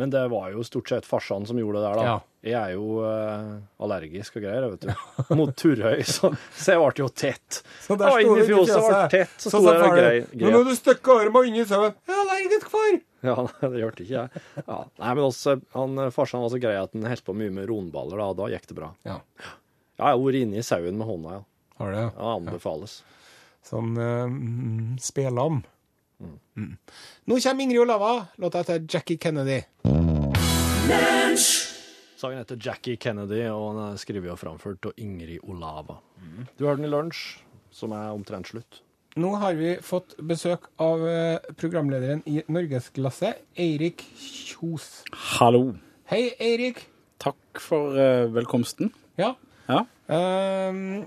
Speaker 4: Men det var jo stort sett farsan som gjorde det der, da.
Speaker 3: Ja.
Speaker 4: Jeg er jo eh, allergisk og greier, jeg, vet du. Mot Turøy, så, så jeg ble jo tett.
Speaker 3: Så
Speaker 4: Jeg var inne i fjor, så ble jeg tett, så, sto jeg og grei,
Speaker 3: Nå må
Speaker 4: grep.
Speaker 3: du stikke armen inn i sauen. Jeg er allergisk for!
Speaker 4: Ja, det hørte ikke jeg. Ja. Nei, men også, han, eh, farsan var så grei at han holdt på mye med ronballer, da, og da gikk det bra.
Speaker 3: Ja,
Speaker 4: Ja, jeg har vært inni sauen med hånda, ja.
Speaker 3: har det.
Speaker 4: Ja, anbefales.
Speaker 3: Sånn uh, spelam. Mm. Nå kommer Ingrid Olava, låta heter Jackie Kennedy.
Speaker 4: Sangen heter Jackie Kennedy, og den er skrevet og framført av Ingrid Olava. Du har den i lunsj, som er omtrent slutt.
Speaker 3: Nå har vi fått besøk av eh, programlederen i Norgesglasset, Eirik Kjos.
Speaker 7: Hallo.
Speaker 3: Hei, Eirik.
Speaker 7: Takk for eh, velkomsten.
Speaker 3: Ja.
Speaker 7: Ja.
Speaker 3: Ehm,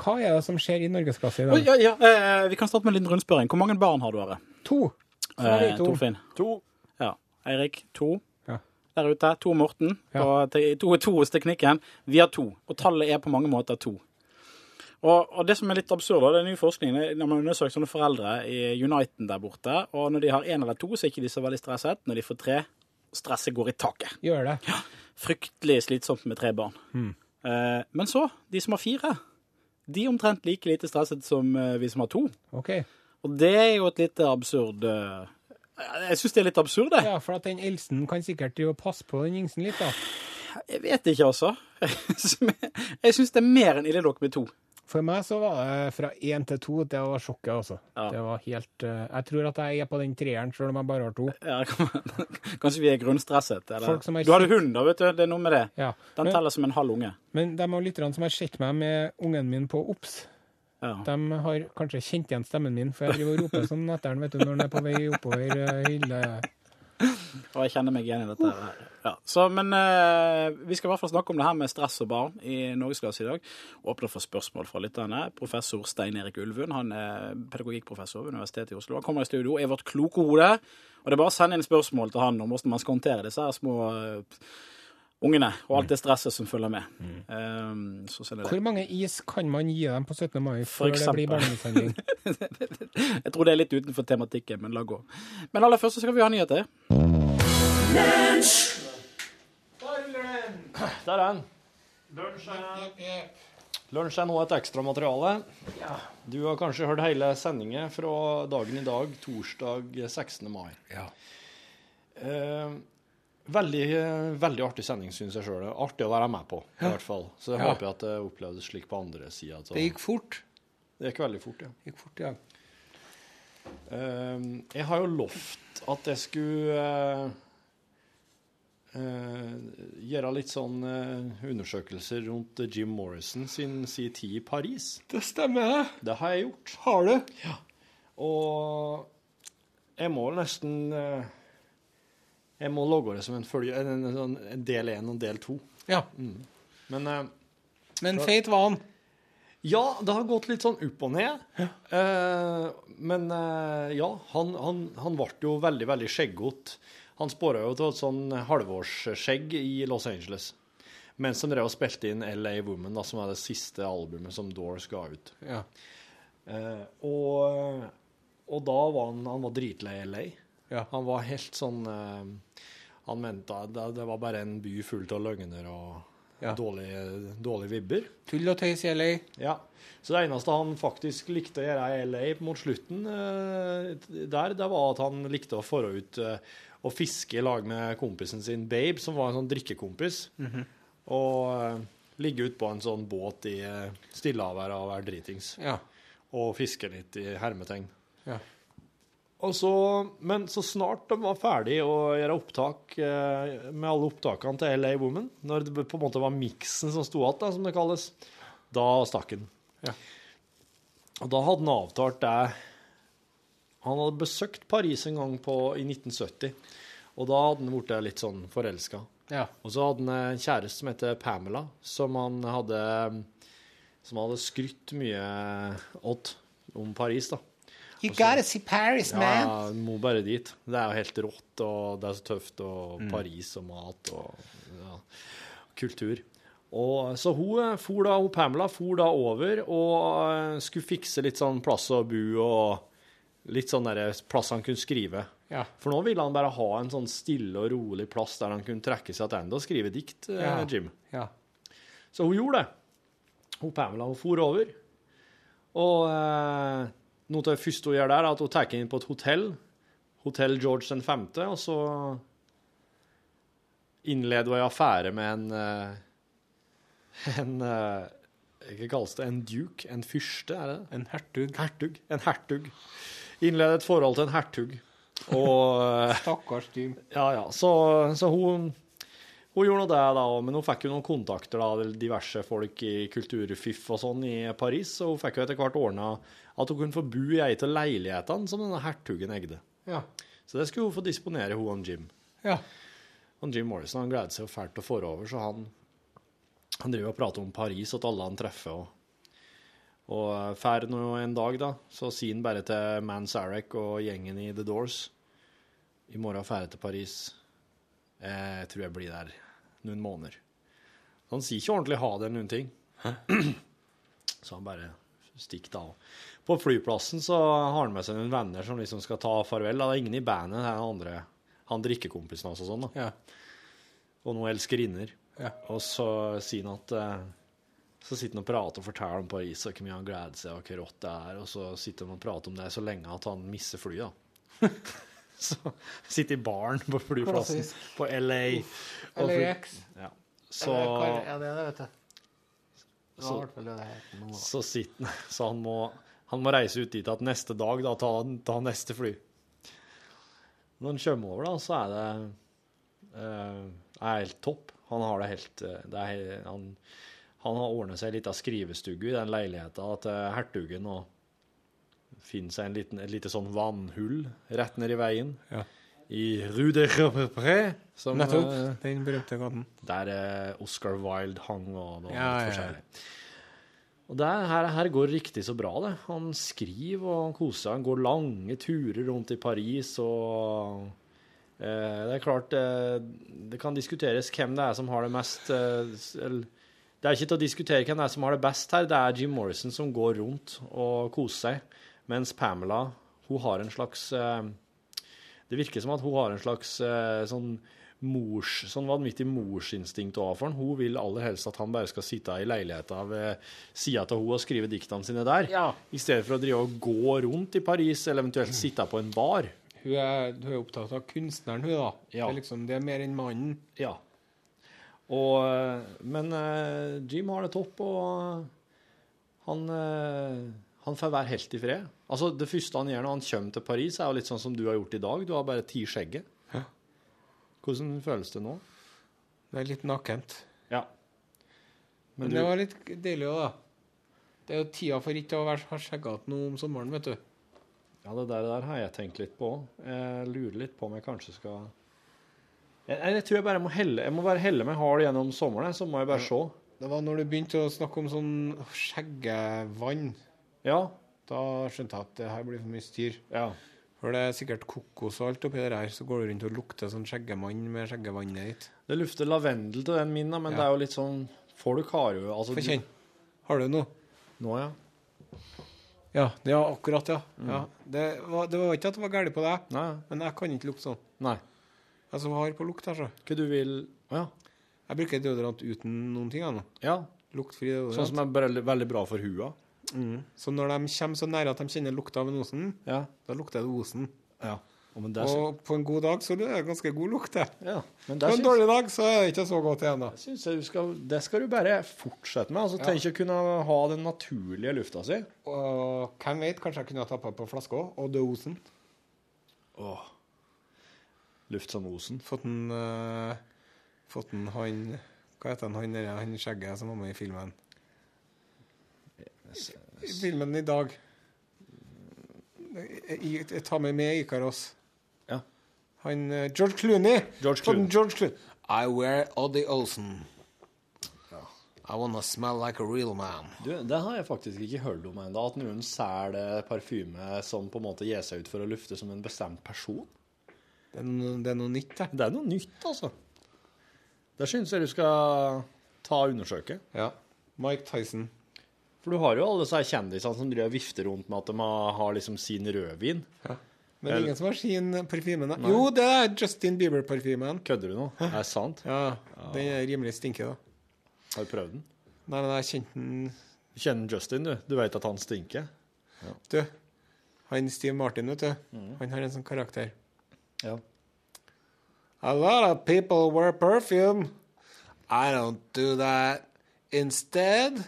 Speaker 3: hva er det som skjer i Norgesglasset i
Speaker 7: Oi,
Speaker 3: dag?
Speaker 7: ja, ja. eh, vi kan starte med en liten rundspørring. Hvor mange barn har du, Are?
Speaker 3: To. Så er det
Speaker 7: Eh,
Speaker 3: to.
Speaker 7: Torfinn?
Speaker 4: To.
Speaker 7: Ja. Eirik? To.
Speaker 3: Ja.
Speaker 7: Der ute. Tor Morten.
Speaker 3: Ja.
Speaker 7: Og te- to er to hos teknikken. Vi har to. Og tallet er på mange måter to. Og, og det som er litt absurd, da, det er ny forskning det er når man har undersøkt sånne foreldre i Uniten der borte, og når de har én eller to, så er ikke de så veldig stresset. Når de får tre, stresset går i taket.
Speaker 3: Gjør det.
Speaker 7: fryktelig slitsomt med tre barn.
Speaker 3: Hmm.
Speaker 7: Eh, men så, de som har fire, de er omtrent like lite stresset som eh, vi som har to.
Speaker 3: OK.
Speaker 7: Og det er jo et litt absurd eh, Jeg syns det er litt absurd, det.
Speaker 3: Ja, for at den eldsten kan sikkert jo passe på den yngsten litt, da.
Speaker 7: Jeg vet ikke, altså. jeg syns det er mer enn ille nok med to.
Speaker 3: For meg så var det fra én til to. Det var sjokket, altså.
Speaker 7: Ja.
Speaker 3: Det var helt eh, Jeg tror at jeg er på den treeren, selv om jeg bare har to.
Speaker 7: Ja, kan- Kanskje vi er grunnstresset. Eller?
Speaker 3: Folk som er
Speaker 7: Du hadde hund, da, vet du. Det er noe med det.
Speaker 3: Ja.
Speaker 7: Den
Speaker 3: Men-
Speaker 7: teller som en halv unge.
Speaker 3: Men de av lytterne som har sett meg med ungen min på OBS,
Speaker 7: Ja.
Speaker 3: de har kanskje kjent igjen stemmen min, for jeg driver og roper sånn etter den, vet du, når den er på vei oppover eh, hylle...
Speaker 7: Og jeg kjenner meg igjen i dette. her. Ja. Så, men eh, vi skal i hvert fall snakke om det her med stress og barn i Norgesklasse i dag. Åpner for spørsmål fra lytterne. Professor Stein Erik Ulvund, han er pedagogikkprofessor ved Universitetet i Oslo. Han kommer i studio, er vårt kloke hode. Og det er bare å sende inn spørsmål til han om hvordan man skal håndtere disse her små eh, ungene og alt det stresset som følger med. Eh, så sender jeg det.
Speaker 3: Hvor mange is kan man gi dem på 17. mai
Speaker 7: For
Speaker 3: før det
Speaker 7: eksempel.
Speaker 3: blir barnemishandling?
Speaker 7: Jeg tror det er litt utenfor tematikken, men la gå. Men aller først så skal vi ha nyheter.
Speaker 4: Der er den. Lunsj er, Lunsj er nå et ekstramateriale. Du har kanskje hørt hele sendingen fra dagen i dag, torsdag 16. mai. Eh, veldig, eh, veldig artig sending, syns jeg sjøl. Artig å være med på, i hvert fall. Så jeg
Speaker 3: Ja.
Speaker 4: håper jeg at det opplevdes slik på andre sida.
Speaker 3: Det gikk fort.
Speaker 4: det gikk veldig fort, ja.
Speaker 3: Det gikk fort, ja.
Speaker 4: Eh, jeg har jo lovt at jeg skulle eh, eh, gjøre litt sånn eh, undersøkelser rundt Jim Morrison sin sin tid i Paris.
Speaker 3: Det stemmer, det.
Speaker 4: Det har jeg gjort.
Speaker 3: Har du?
Speaker 4: Og jeg må nesten eh, Jeg må logge det som en, følge, en, en, en, en del én og en del to.
Speaker 3: Ja.
Speaker 4: Men eh,
Speaker 3: Men feit var han.
Speaker 4: ja, det har gått litt sånn opp og ned. Eh, men eh, ja, han, han, han ble jo veldig, veldig skjeggete. Han spora jo til et sånn halvårsskjegg i Los Angeles. Mens de drev og spilte inn LA Woman, da, som er det siste albumet som Doors ga ut.
Speaker 3: Ja.
Speaker 4: Eh, og, og da var han, han var dritlei LA.
Speaker 3: Ja.
Speaker 4: Han var helt sånn eh, Han mente at det, det var bare en by full av løgner og
Speaker 3: Ja.
Speaker 4: dårlige, dårlige vibber.
Speaker 3: Tull og tøys i LA.
Speaker 4: Ja. Så det eneste han faktisk likte å gjøre i LA mot slutten eh, der, det var at han likte å forå ut eh, og fiske i lag med kompisen sin Babe, som var en sånn drikkekompis.
Speaker 3: Mhm.
Speaker 4: Og eh, ligge ut på en sånn båt i eh, Stillehavet og være dritings
Speaker 3: Ja.
Speaker 4: og fiske litt i hermetegn.
Speaker 3: Ja.
Speaker 4: Og så, men så snart de var ferdig å gjøre opptak eh, med alle opptakene til LA Woman, når det på en måte var miksen som sto igjen, da, som det kalles, da stakk han.
Speaker 3: Ja.
Speaker 4: Og da hadde han avtalt det Han hadde besøkt Paris en gang på, i 1970, og da hadde han blitt litt sånn forelska.
Speaker 3: Ja.
Speaker 4: Og så hadde han en kjæreste som heter Pamela, som han hadde, som hadde skrytt mye åt om Paris, da.
Speaker 3: You gotta see Paris, man.
Speaker 4: Ja, må bare dit. Det er jo helt rått, og det er så tøft, og
Speaker 3: Mm.
Speaker 4: Paris og mat og ja, kultur. Og, så hun eh, for da, hun Pamela for da over og eh, skulle fikse litt sånn plass å bo og litt sånn der plass han kunne skrive.
Speaker 3: Ja.
Speaker 4: For nå ville han bare ha en sånn stille og rolig plass der han kunne trekke seg tilbake og skrive dikt, eh,
Speaker 3: Ja.
Speaker 4: Jim.
Speaker 3: Ja.
Speaker 4: Så hun gjorde det. Hun Pamela hun for over. Og eh, noe av det første hun gjør der, er at hun tar inn på et hotell. Hotell George den femte, og så innleder hun en affære med en eh, En eh, Hva kalles det? En duke? En fyrste, er det det?
Speaker 3: En hertug.
Speaker 4: Hertug. En hertug. Innleder et forhold til en hertug. Og eh,
Speaker 3: Stakkars Jim.
Speaker 4: ja, ja. Så, så hun, hun gjorde nå det, da, og- men hun fikk jo noen kontakter av diverse folk i kulturfiff og sånn i Paris, så hun fikk jo etter hvert ordna at hun kunne få bo i ei av leilighetene som denne hertugen eide.
Speaker 3: Ja.
Speaker 4: Så det skulle hun få disponere, hun og Jim.
Speaker 3: Ja.
Speaker 4: Og Jim Morrison han gleder seg jo fælt til å få over, så han, han driver og prater om Paris og til alle han treffer. Og, og eh, fær nå en dag, da, så sier han bare til Man Sarek og gjengen i The Doors I morgen fær jeg til Paris. Eh, Jeg tror jeg blir der noen måneder. Så han sier ikke ordentlig ha det eller noen ting. Så han bare stikker da. På flyplassen så har han med seg noen venner som liksom skal ta farvel. da. Det er ingen i bandet, det er den andre, han drikkekompisen hans og sånn. da
Speaker 3: Ja.
Speaker 4: og noen elskerinner.
Speaker 3: Ja.
Speaker 4: Og så sier han at eh, Så sitter han og prater og forteller om Paris og hvor mye han gleder seg, og hvor rått det er, og så sitter han og prater om det så lenge at han misser flyet. da. så sitter i baren på flyplassen
Speaker 3: Klassisk.
Speaker 4: på LA. og fly-
Speaker 3: LAX.
Speaker 4: Ja. Så,
Speaker 3: det er det, vet du.
Speaker 4: så,
Speaker 3: vel det her nå.
Speaker 4: så sitter han Så han må, han må reise ut dit at neste dag, da, ta, ta neste fly. Når han kommer over, da, så er det eh, er helt topp. Han har det helt eh, det er, he- han, han har ordna seg ei lita skrivestue i den leiligheta til hertugen og finner seg en liten, et lite sånn vannhull rett ned i veien.
Speaker 3: Ja.
Speaker 4: I Rue de Repré, som
Speaker 3: Nettopp.
Speaker 4: eh,
Speaker 3: Den berømte gaten.
Speaker 4: der eh, Oscar Wilde hang og noe
Speaker 3: Ja, ja,
Speaker 4: annet
Speaker 3: ja.
Speaker 4: forskjellig. Og det her, her går riktig så bra, det. Han skriver og han koser seg. Han går lange turer rundt i Paris og eh, Det er klart eh, Det kan diskuteres hvem det er som har det mest eh, s- eller, Det er ikke til å diskutere hvem det er som har det best her. Det er Jim Morrison som går rundt og koser seg, mens Pamela hun har en slags eh, det virker som at hun har en slags eh, sånn mors, sånn vanvittig morsinstinkt å ha for han. Hun vil aller helst at han bare skal sitte i leiligheta ved sida av hun og skrive diktene sine der,
Speaker 3: Ja.
Speaker 4: i stedet for å drive og gå rundt i Paris, eller eventuelt sitte på en bar.
Speaker 3: Hun er, hun er opptatt av kunstneren, hun, da.
Speaker 4: Ja.
Speaker 3: Det, er liksom, det er mer enn mannen.
Speaker 4: Ja. Og, eh, men eh, Jim har det topp, og eh, han, eh, han får være helt i fred. Altså, det første han gjør når han kommer til Paris, er jo litt sånn som du har gjort i dag. Du har bare ti skjegget. Hvordan føles det nå?
Speaker 3: Det er litt nakent.
Speaker 4: Ja.
Speaker 3: Men,
Speaker 4: Men du,
Speaker 3: det var litt deilig òg, da. Det er jo tida for ikke å være ha skjeggete nå om sommeren, vet du.
Speaker 4: ja, det der, der har jeg tenkt litt på. Jeg lurer litt på om jeg kanskje skal jeg, jeg, jeg tror jeg bare må helle Jeg må bare helle meg hard gjennom sommeren, jeg, så må jeg bare se.
Speaker 3: Det var når du begynte å snakke om sånn skjeggevann.
Speaker 4: Ja.
Speaker 3: Da skjønte jeg at det her blir for mye styr.
Speaker 4: ja.
Speaker 3: For det er sikkert kokos og alt oppi det her, så går du rundt og lukter sånn skjeggemann med skjeggevannet ditt.
Speaker 4: Det lufter lavendel til den min, da, men
Speaker 3: Ja.
Speaker 4: det er jo litt sånn Får du karø altså,
Speaker 3: Få kjenne. Har du noe?
Speaker 4: Nå, ja.
Speaker 3: Ja, det var akkurat, ja. ja. Det, var, det var ikke at det var galt på deg,
Speaker 4: Mm. Nei.
Speaker 3: men jeg kan ikke lukte sånn.
Speaker 4: Nei.
Speaker 3: Jeg er så hard på lukt, altså.
Speaker 4: Hva du vil Å ja.
Speaker 3: Jeg bruker deodorant uten noen ting. jeg, nå.
Speaker 4: ja.
Speaker 3: Luktfri deodorant.
Speaker 4: Sånn som er veldig, veldig bra for hua.
Speaker 3: Så når de kommer så nære at de kjenner lukta av en osen,
Speaker 4: Ja.
Speaker 3: da lukter det osen.
Speaker 4: ja. Å, men det syns
Speaker 3: Og på en god dag så er det ganske god lukt, det.
Speaker 4: ja. men
Speaker 3: På
Speaker 4: det
Speaker 3: en
Speaker 4: syns-
Speaker 3: dårlig dag så er det ikke så godt igjen, da.
Speaker 4: syns jeg du skal Det skal du bare fortsette med. Altså, Tenk å kunne ha den naturlige lufta si.
Speaker 3: Og hvem vet, kanskje jeg kunne ha tappa på flaska òg, og død osen.
Speaker 4: Åh. Luft som osen.
Speaker 3: Fått en eh, Fått en han Hva heter han han derre han skjegget som var med i filmen? I filmen i dag. I, i, ta meg med Ikaros.
Speaker 4: Ja.
Speaker 3: Han eh, George Clooney.
Speaker 4: George
Speaker 3: Fått en
Speaker 4: Clooney.
Speaker 3: George Clooney. I wear Oddy Olsen. I wanna smell like a real man.
Speaker 4: Du, det har jeg faktisk ikke hørt om ennå. At noen selger parfyme som på en måte gir seg ut for å lufte som en bestemt person.
Speaker 3: Det er noe, det er noe nytt, det.
Speaker 4: Det er noe nytt, altså. Det syns jeg du skal ta og undersøke.
Speaker 3: Ja. Mike Tyson.
Speaker 4: For du har jo alle disse kjendisene som driver og vifter rundt med at de har- har liksom sin rødvin.
Speaker 3: Men det er ingen som har sin parfyme? nei. Jo, det er Justin Bieber-parfymen.
Speaker 4: Kødder du nå? Er det sant?
Speaker 3: Ja, den er rimelig stinker, da.
Speaker 4: Har du prøvd den?
Speaker 3: Nei, men jeg kjente den
Speaker 4: Du kjenner Justin, du. Du vet at han stinker.
Speaker 3: Du, han Steve Martin, vet du, han har en sånn karakter.
Speaker 4: Ja.
Speaker 3: A lot of people wear perfume. I don't do that. Instead,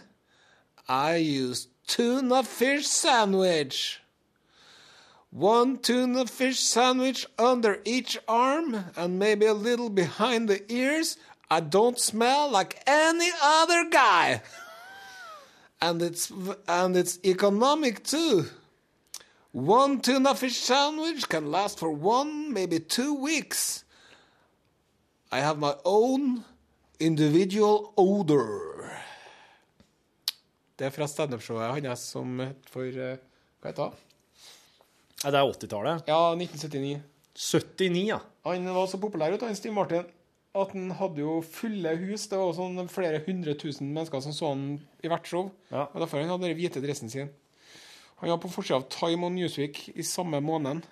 Speaker 3: I use tuna fish sandwich. One tuna fish sandwich under each arm and maybe a little behind the ears. I don't smell like any other guy. And it's and it's economic too. One tuna fish sandwich can last for one, maybe two weeks. I have my own individual odor. Det er fra standup-showet hans som het for eh, Hva heter han?
Speaker 4: Nei, det er 80-tallet.
Speaker 3: Ja, 1979.
Speaker 4: 79, ja.
Speaker 3: Han var så populær, vet du, han Steve Martin, at han hadde jo fulle hus. Det var sånn flere hundre tusen mennesker som så han i hvert show.
Speaker 4: Ja.
Speaker 3: Og derfor han hadde den hvite dressen sin. Han var på forsida av Time og Newsweek i samme måneden.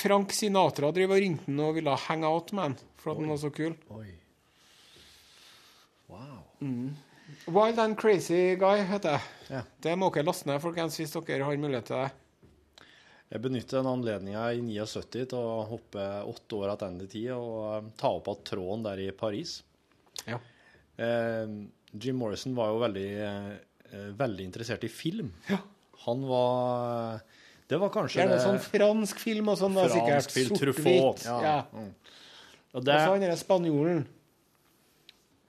Speaker 3: Frank Sinatra drev og ringte han og ville hang out med han, for at han var så kul.
Speaker 4: Oi. Wow.
Speaker 3: Wild and Crazy Guy heter jeg.
Speaker 4: Ja.
Speaker 3: Det må dere laste ned, folkens, hvis dere har mulighet til det.
Speaker 4: Jeg benytter den anledninga i 79 til å hoppe åtte år tilbake i tid og eh, ta opp igjen tråden der i Paris.
Speaker 3: Ja.
Speaker 4: Eh, Jim Morrison var jo veldig, eh, veldig interessert i film. Han var eh, Det var kanskje
Speaker 3: Gjerne
Speaker 4: det,
Speaker 3: sånn fransk film og sånn, da, sikkert.
Speaker 4: Fransk film,
Speaker 3: Sort-hvitt.
Speaker 4: Truffaut.
Speaker 3: Ja.
Speaker 4: Ja. og
Speaker 3: Og
Speaker 4: det,
Speaker 3: så han derre spanjolen.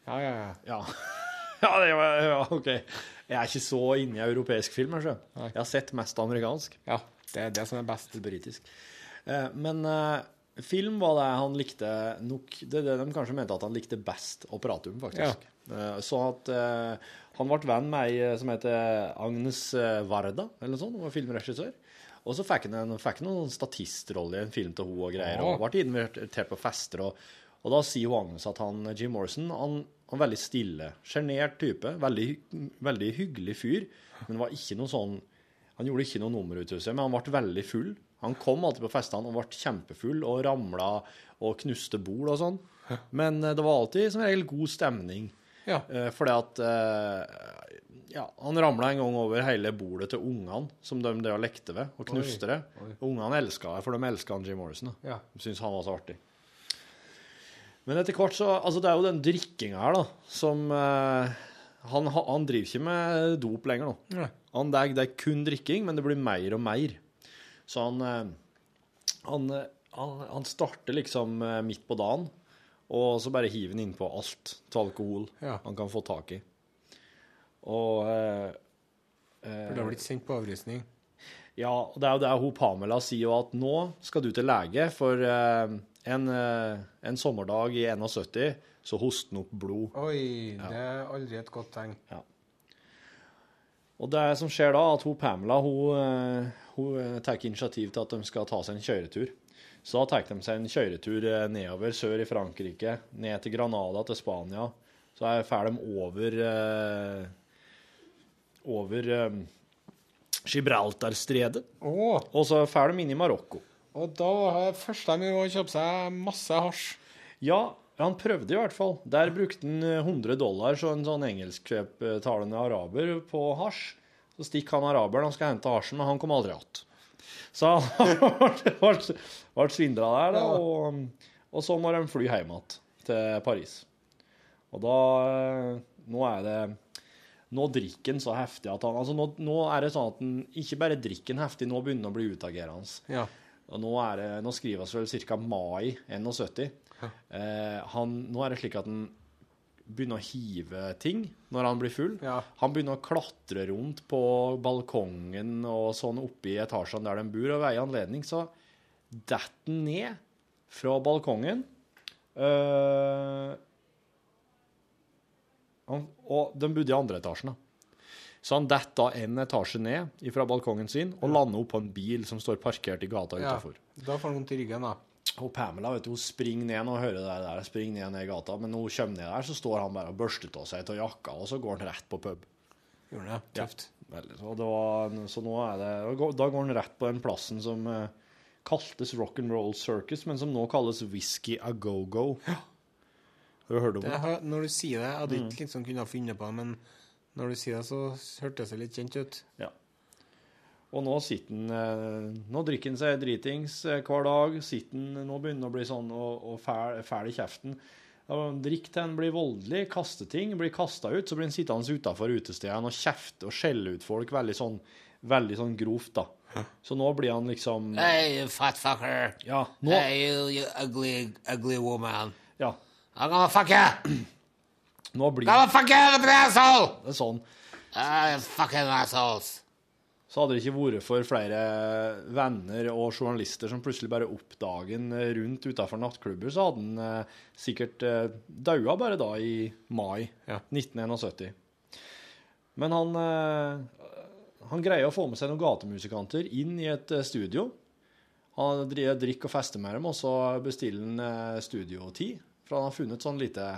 Speaker 3: Ja, ja, ja.
Speaker 4: ja. ja, det var ja, OK. Jeg er ikke så inne i europeisk film. Jeg, skjønner. jeg har sett mest amerikansk.
Speaker 3: ja. Det er det som er best.
Speaker 4: til britisk. Eh, Men eh, film var det han likte nok Det er det de kanskje mente at han likte best å prate om, faktisk. Eh, Så at eh, han ble venn med ei eh, som heter Agnes eh, Varda, eller noe sånt. Hun var filmregissør. Og så fikk han en, fikk han noen statistrolle i en film til hun og greier, og ble invitert på fester. og og da sier hun Agnes at han, Jim Morrison han, han er veldig stille, sjenert type. Veldig, hy- veldig hyggelig fyr, men var ikke noe sånn han gjorde ikke noe nummer ut av seg, men han ble veldig full. Han kom alltid på festene og ble kjempefull og ramla og knuste bol og sånn. Men eh, det var alltid som regel god stemning.
Speaker 3: Ja.
Speaker 4: Eh, fordi at eh, Ja, han ramla en gang over hele bordet til ungene som de drev og lekte ved, og knuste det. Ungene elska det, for de elska Jim Morrison. da.
Speaker 3: Ja.
Speaker 4: De syntes han var så artig. Men etter hvert så Altså, det er jo den drikkinga her, da, som eh, han, ha- han driver ikke med dop lenger nå.
Speaker 3: Nei.
Speaker 4: Han, det, er, det er kun drikking, men det blir mer og mer. Så han eh, Han, eh, han, han starter liksom eh, midt på dagen, og så bare hiver han innpå alt til alkohol
Speaker 3: Ja.
Speaker 4: han kan få tak i. Og eh,
Speaker 3: For det har blitt sendt på avrusning.
Speaker 4: ja, og det er jo det hun Pamela sier jo at nå skal du til lege, for eh, en, eh, en sommerdag i 71 så hoster han opp blod.
Speaker 3: Oi, det er aldri et godt tegn.
Speaker 4: Og det som skjer da, at hun Pamela hun, eh, hun eh, tar initiativ til at de skal ta seg en kjøretur. Så da tar de seg en kjøretur eh, nedover sør i Frankrike, ned til Granada, til Spania. Så er- fer de over eh, over eh, Gibraltarstredet.
Speaker 3: Å,
Speaker 4: Og så fer de inn i Marokko.
Speaker 3: og da var det første de gjorde, å kjøpe seg masse hasj.
Speaker 4: Ja, han prøvde i hvert fall. Der brukte han eh, 100 dollar så en sånn engelsktalende araber på hasj. Så stikker han araberen, han skal hente hasjen, men han kom aldri igjen. Så han ble svindla der, da, og, um, og så må de fly hjem igjen til Paris. Og da eh, Nå er det Nå drikker han så heftig at han altså nå, nå er det sånn at han ikke bare drikker han heftig, nå begynner han å bli utagerende.
Speaker 3: Ja.
Speaker 4: Og nå, er det, nå skrives vel ca. mai 71. Eh, han, nå er det slik at han begynner å hive ting når han blir full.
Speaker 3: Ja.
Speaker 4: Han begynner å klatre rundt på balkongen og sånn oppe i etasjene der de bor, og ved en anledning så detter han ned fra balkongen. Eh, han, og de bodde i andre etasjen, da. Så han detter da en etasje ned fra balkongen sin og lander opp på en bil som står parkert i gata
Speaker 3: ja.
Speaker 4: utafor.
Speaker 3: Da får han vondt i ryggen, da.
Speaker 4: Og Pamela vet du, hun springer ned og hører det der, springer ned ned i gata, men når hun kommer ned der, så står han bare og børster av seg av jakka, og så går han rett på pub.
Speaker 3: Gjorde han det? Tøft.
Speaker 4: Veldig. Så, det var, så nå er det og gå- Da går han rett på den plassen som eh, kaltes Rock'n'Roll Circus, men som nå kalles Whisky A Go-Go. Har du hørt om
Speaker 3: Det
Speaker 4: det?
Speaker 3: har- når du sier det, jeg hadde ikke liksom kunnet finne på det, men når du sier det, så hørtes det litt kjent ut.
Speaker 4: Ja. Og nå sitter han eh, Nå drikker han seg dritings eh, hver dag. Sitter han Nå begynner han å bli sånn og, og fæl, fæl i kjeften. Ja, men Drikk til han blir voldelig, kaster ting, blir kasta ut. Så blir han sittende utafor utestedene og kjefte og skjelle ut folk veldig sånn, veldig sånn grovt, da. Så nå blir han liksom
Speaker 8: Eh.
Speaker 9: Hey, you fat fucker.
Speaker 4: Ja. Nå,
Speaker 9: Hey, you, you ugly, ugly woman.
Speaker 4: ja,
Speaker 9: I'm gonna fuck you.
Speaker 4: nå blir
Speaker 9: I'm gonna fuck you, ugly asshole.
Speaker 4: det sånn.
Speaker 9: Ah, you fucking assholes.
Speaker 4: så hadde det ikke vært for flere venner og journalister som plutselig bare oppdager en rundt utenfor nattklubber, så hadde han eh, sikkert eh, daua bare da i mai
Speaker 3: Ja.
Speaker 4: 1971. Men han, eh, han greier å få med seg noen gatemusikanter inn i et eh, studio. Han driver drikk og fester med dem, og så bestiller han eh, studiotid. For han har funnet sånn lite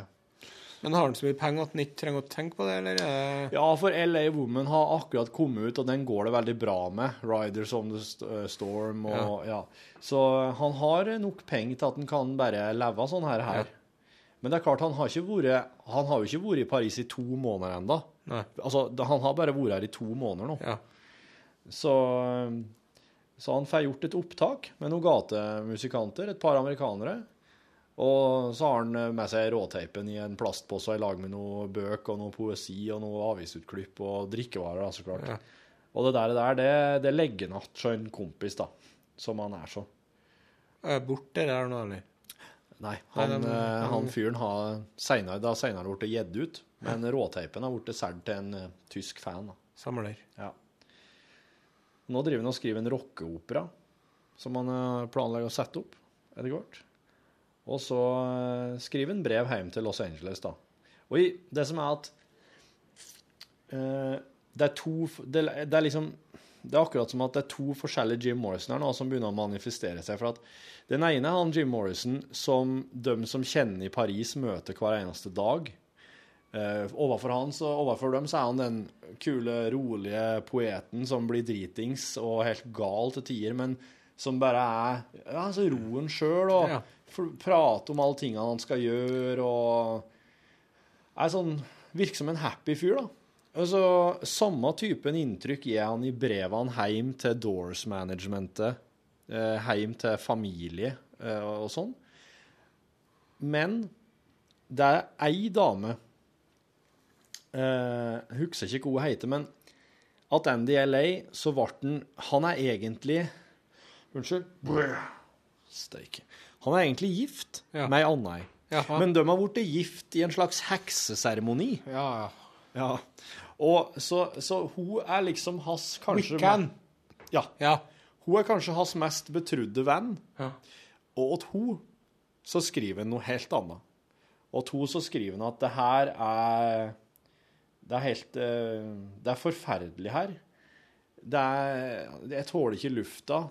Speaker 3: Men har han så mye penger at han ikke trenger å tenke på det, eller? er det-
Speaker 4: Ja, for LA Woman har akkurat kommet ut, og den går det veldig bra med. Riders on the St- eh, Storm og ja. Så eh, han har nok penger til at han kan bare leve av sånn her. her. Men det er klart, han har, ikke vært, han har jo ikke vært i Paris i to måneder ennå.
Speaker 3: Nei.
Speaker 4: Altså, da- han har bare vært her i to måneder nå.
Speaker 3: Ja.
Speaker 4: Så, eh, så han får gjort et opptak med noen gatemusikanter, et par amerikanere. Og så har han eh, med seg råteipen i en plastpose i lag med noe bøk og noe poesi og noe avisutklipp og drikkevarer, da, så klart. Og det der, det, der, det, det legger han att til en kompis, da, som han er så.
Speaker 3: Er det borte det der nå, eller?
Speaker 4: Nei, han,
Speaker 3: Nei, den-
Speaker 4: eh, han fyren har senere, det har senere blitt gitt ut, men råteipen har blitt solgt til en eh, tysk fan. da.
Speaker 3: Samler.
Speaker 4: Ja. Nå driver han og skriver en rockeopera som han eh, planlegger å sette opp etter hvert. Og så eh, skriver han brev hjem til Los Angeles, da. Og i, det som er at eh, Det er to f- det, det er liksom det er akkurat som at det er to forskjellige Jim Morrison her nå som begynner å manifestere seg. For at den ene er han Jim Morrison som de som kjenner i Paris, møter hver eneste dag. Eh, overfor han, så overfor dem så er han den kule, rolige poeten som blir dritings og helt gal til tider, men som bare er ja, altså roen sjøl, og
Speaker 3: Ja.
Speaker 4: for- prater om alle tingene han skal gjøre, og er sånn Virker som en happy fyr, da. Altså, Samme typen inntrykk gir han i brevene hjem til Doors Managementet, eh, hjem til familie eh, og og sånn. Men det er ei dame eh, Husker ikke hva hun heter, men at Andy i LA, så ble han Han er egentlig Unnskyld. Brr. Steike. Han er egentlig gift
Speaker 3: Ja.
Speaker 4: med ei anna ei.
Speaker 3: Jaha.
Speaker 4: Men de har blitt gift i en slags hekseseremoni.
Speaker 3: Ja, ja.
Speaker 4: Ja. Og så, så hun er liksom hans kanskje
Speaker 3: Wiccan.
Speaker 4: Ja.
Speaker 3: Ja.
Speaker 4: Hun er kanskje hans mest betrodde venn.
Speaker 3: Ja.
Speaker 4: Og at hun så skriver han noe helt annet. Og at hun så skriver han at det her er Det er helt eh, Det er forferdelig her. Det er Jeg tåler ikke lufta.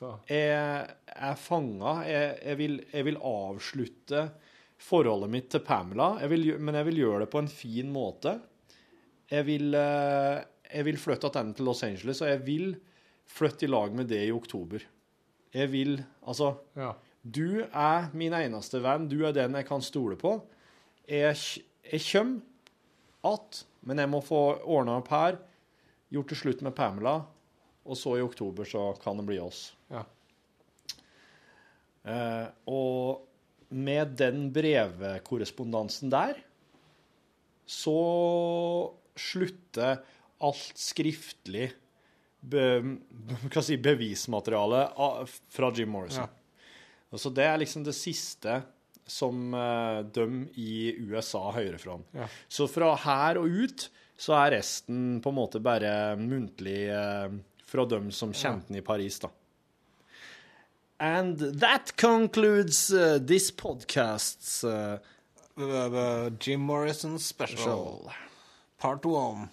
Speaker 3: da.
Speaker 4: Jeg er fanga. Jeg, jeg, vil, jeg vil avslutte forholdet mitt til Pamela, jeg vil, gjø- men jeg vil gjøre det på en fin måte. Jeg vil, eh, jeg vil flytte tilbake til Los Angeles, og jeg vil flytte i lag med det i oktober. Jeg vil Altså
Speaker 3: Ja.
Speaker 4: du er min eneste venn. Du er den jeg kan stole på. Jeg, jeg kommer att, men jeg må få ordna opp her. Gjort det slutt med Pamela. Og så i oktober så kan det bli oss.
Speaker 3: Ja.
Speaker 4: Eh, og med den brevkorrespondansen der, så slutter alt skriftlig be, hva si, bevismateriale av- fra Jim Morrison. Og så det er liksom det siste som eh, de i USA hører fra.
Speaker 3: Ja.
Speaker 4: Så fra her og ut så er resten på en måte bare muntlig eh, fra dem som kjente den i Paris, da. And that concludes uh, this podcast's uh,
Speaker 8: Jim Morrison special.
Speaker 4: show.
Speaker 8: Hmm. Part one.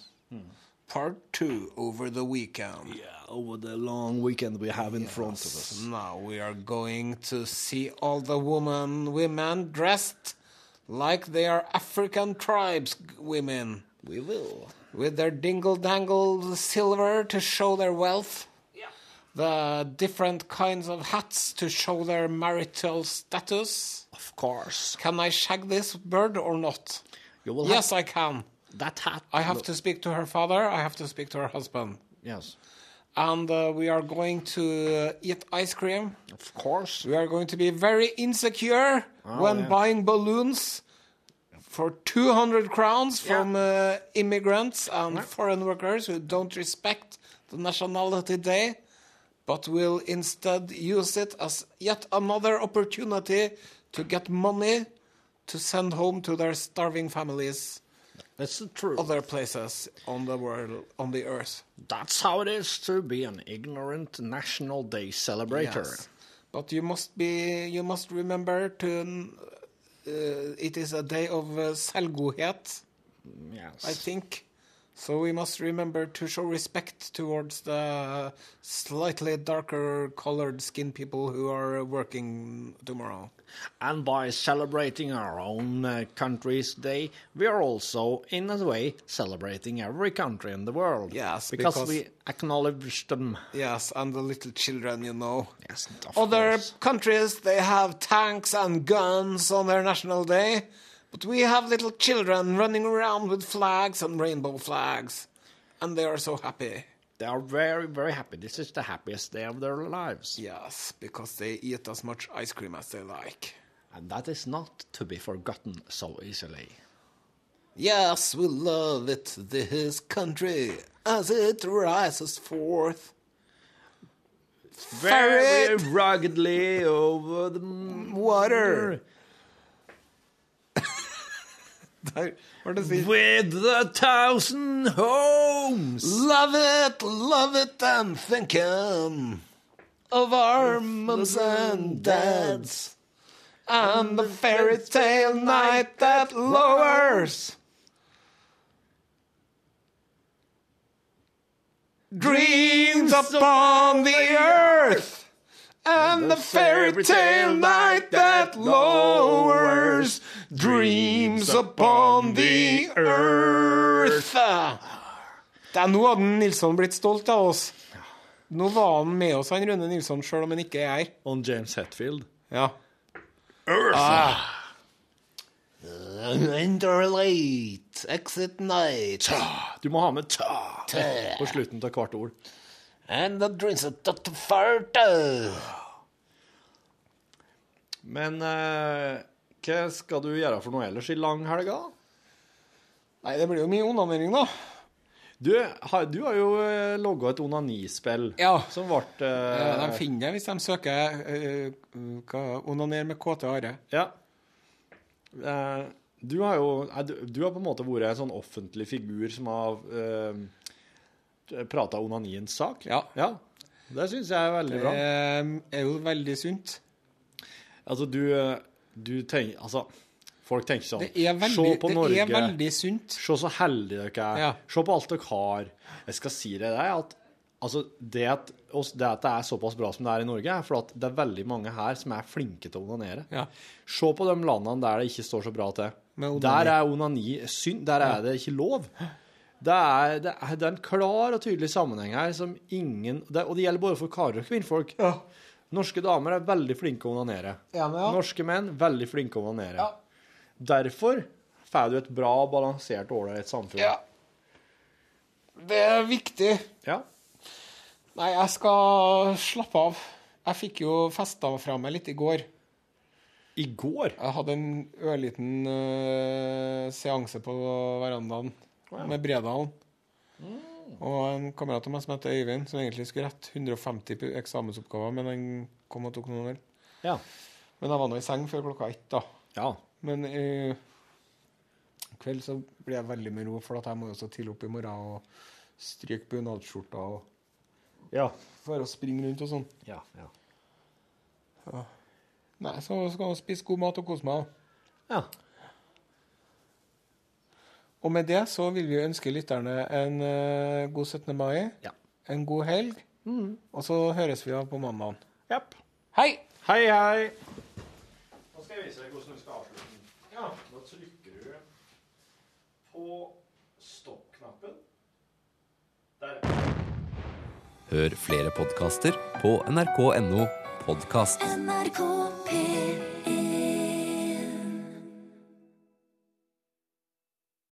Speaker 8: Part two over the weekend.
Speaker 4: over the long weekend we have in front of us.
Speaker 8: Now we are going to see all the woman women dressed like they are African tribes g- women. We will. With their dingle dangle silver to show their wealth. The different kinds of hats to show their marital status.
Speaker 4: Of course.
Speaker 8: Can I shag this bird or not?
Speaker 4: You will
Speaker 8: Yes, I can.
Speaker 4: have that hat.
Speaker 8: I have to speak to her father. I have to speak to her husband.
Speaker 4: Yes.
Speaker 8: And uh, we are going to uh, eat ice cream.
Speaker 4: Of course.
Speaker 8: We are going to be very insecure when
Speaker 4: yeah.
Speaker 8: buying balloons for 200 crowns from uh, immigrants and foreign workers who don't respect the Nationality Day, but will instead use it as yet another opportunity to get money to send home to their starving families
Speaker 4: That's the truth.
Speaker 8: other places on the world, on the earth.
Speaker 4: That's how it is to be an ignorant National Day celebrator.
Speaker 8: Yes. But you must be, you must remember to, uh, it is a day of uh, selvgodhet,
Speaker 4: Yes.
Speaker 8: I think. So we must remember to show respect towards the slightly darker colored skin people who are working tomorrow.
Speaker 4: And by celebrating our own uh, country's day, we are also, in a way, celebrating every country in the world.
Speaker 8: Yes,
Speaker 4: because,
Speaker 8: because-
Speaker 4: we acknowledge them.
Speaker 8: Yes, and the little children, you know.
Speaker 4: Yes, of
Speaker 8: Other
Speaker 4: course.
Speaker 8: countries, they have tanks and guns on their national day, but we have little children running around with flags and rainbow flags, and they are so happy.
Speaker 4: They are very, very happy. This is the happiest day of their lives.
Speaker 8: Yes, because they eat as much ice cream as they like.
Speaker 4: And that is not to be forgotten so easily.
Speaker 8: Yes, we love it, this country, as it rises forth.
Speaker 4: Very
Speaker 8: Ferret!
Speaker 4: ruggedly over the m-
Speaker 8: Water! Or does it?
Speaker 4: With the thousand homes!
Speaker 8: Love it, love it, I'm thinking of our mums and dads. And the fairy tale night that lowers. Dreams upon the earth. And the fairy tale night that lowers. Dreams upon the earth. Det er nå hadde Nilsson blitt stolt av oss. Nå var han med oss, han Rune Nilsson, sjøl om han ikke er her.
Speaker 4: Og James Hetfield.
Speaker 8: Ja.
Speaker 10: Ah. Enter late, exit night,
Speaker 4: Du må ha med ta på slutten av hvert ord.
Speaker 10: and the drinks at the farta.
Speaker 4: Men eh, hva skal du gjøre for noe ellers i langhelga?
Speaker 8: Nei, det blir jo mye onanering, da.
Speaker 4: Du, har- du har jo eh, logga et onanispill
Speaker 8: Ja.
Speaker 4: som ble
Speaker 8: Eh,
Speaker 4: eh,
Speaker 8: De finner det hvis de søker eh, hva- onaner med KT Are.
Speaker 4: Ja. Eh, du har jo eh, du, du har på en måte vært en sånn offentlig figur som har uh, prata onaniens sak.
Speaker 8: Ja.
Speaker 4: Det syns jeg er veldig bra.
Speaker 8: Det er jo veldig sunt.
Speaker 4: Altså, du, eh, du tenker Altså, folk tenker sånn
Speaker 8: Det er veldig,
Speaker 4: Se på
Speaker 8: det
Speaker 4: Norge.
Speaker 8: er veldig sunt.
Speaker 4: Se så heldige dere er.
Speaker 8: Ja.
Speaker 4: Se på alt dere har. Jeg skal si deg det at altså, det, at, oss- det at det er såpass bra som det er i Norge, er fordi at det er veldig mange her som er flinke til å onanere.
Speaker 8: Ja.
Speaker 4: Se på de landene der det ikke står så bra til.
Speaker 8: Med onani.
Speaker 4: Der er onani synd. Der er det ikke lov. Det er, det, er, det er en klar og tydelig sammenheng her som ingen det, Og det gjelder både for karer og kvinnfolk. Norske damer er veldig flinke å onanere.
Speaker 8: Enig, ja.
Speaker 4: Norske menn veldig flinke å onanere. Derfor får du et bra, balansert og ålreit samfunn.
Speaker 8: Ja. Det er viktig.
Speaker 4: Ja.
Speaker 8: Nei, jeg skal slappe av. Jeg fikk jo festa fra meg litt i går.
Speaker 4: I går
Speaker 8: Jeg hadde en ørliten øh, seanse på verandaen med Bredalen. Og en kamerat av meg som heter Øyvind, som egentlig skulle rette 150 pu- eksamensoppgaver, men han kom og tok noen øl.
Speaker 4: Ja.
Speaker 8: Men jeg var nå i seng før klokka ett, da.
Speaker 4: ja.
Speaker 8: Men i kveld så blir jeg veldig med ro, for at jeg må jo så tidlig opp i morgen og stryke bunadsskjorta og
Speaker 4: Ja.
Speaker 8: være og springe rundt og sånn.
Speaker 4: Ja. ja.
Speaker 8: Nei, så skal jeg spise god mat og kose meg.
Speaker 4: ja.
Speaker 8: Og med det så vil vi ønske lytterne en eh, god 17. mai,
Speaker 4: Ja.
Speaker 8: en god helg, og så høres vi av på mandagen.
Speaker 4: Japp.
Speaker 8: Hei!
Speaker 4: Hei, hei. Nå skal jeg vise deg hvordan du skal avslutte den. Ja. Da trykker du på stopp-knappen. Der.
Speaker 11: Hør flere podkaster på nrk.no podkast.
Speaker 12: NRK P1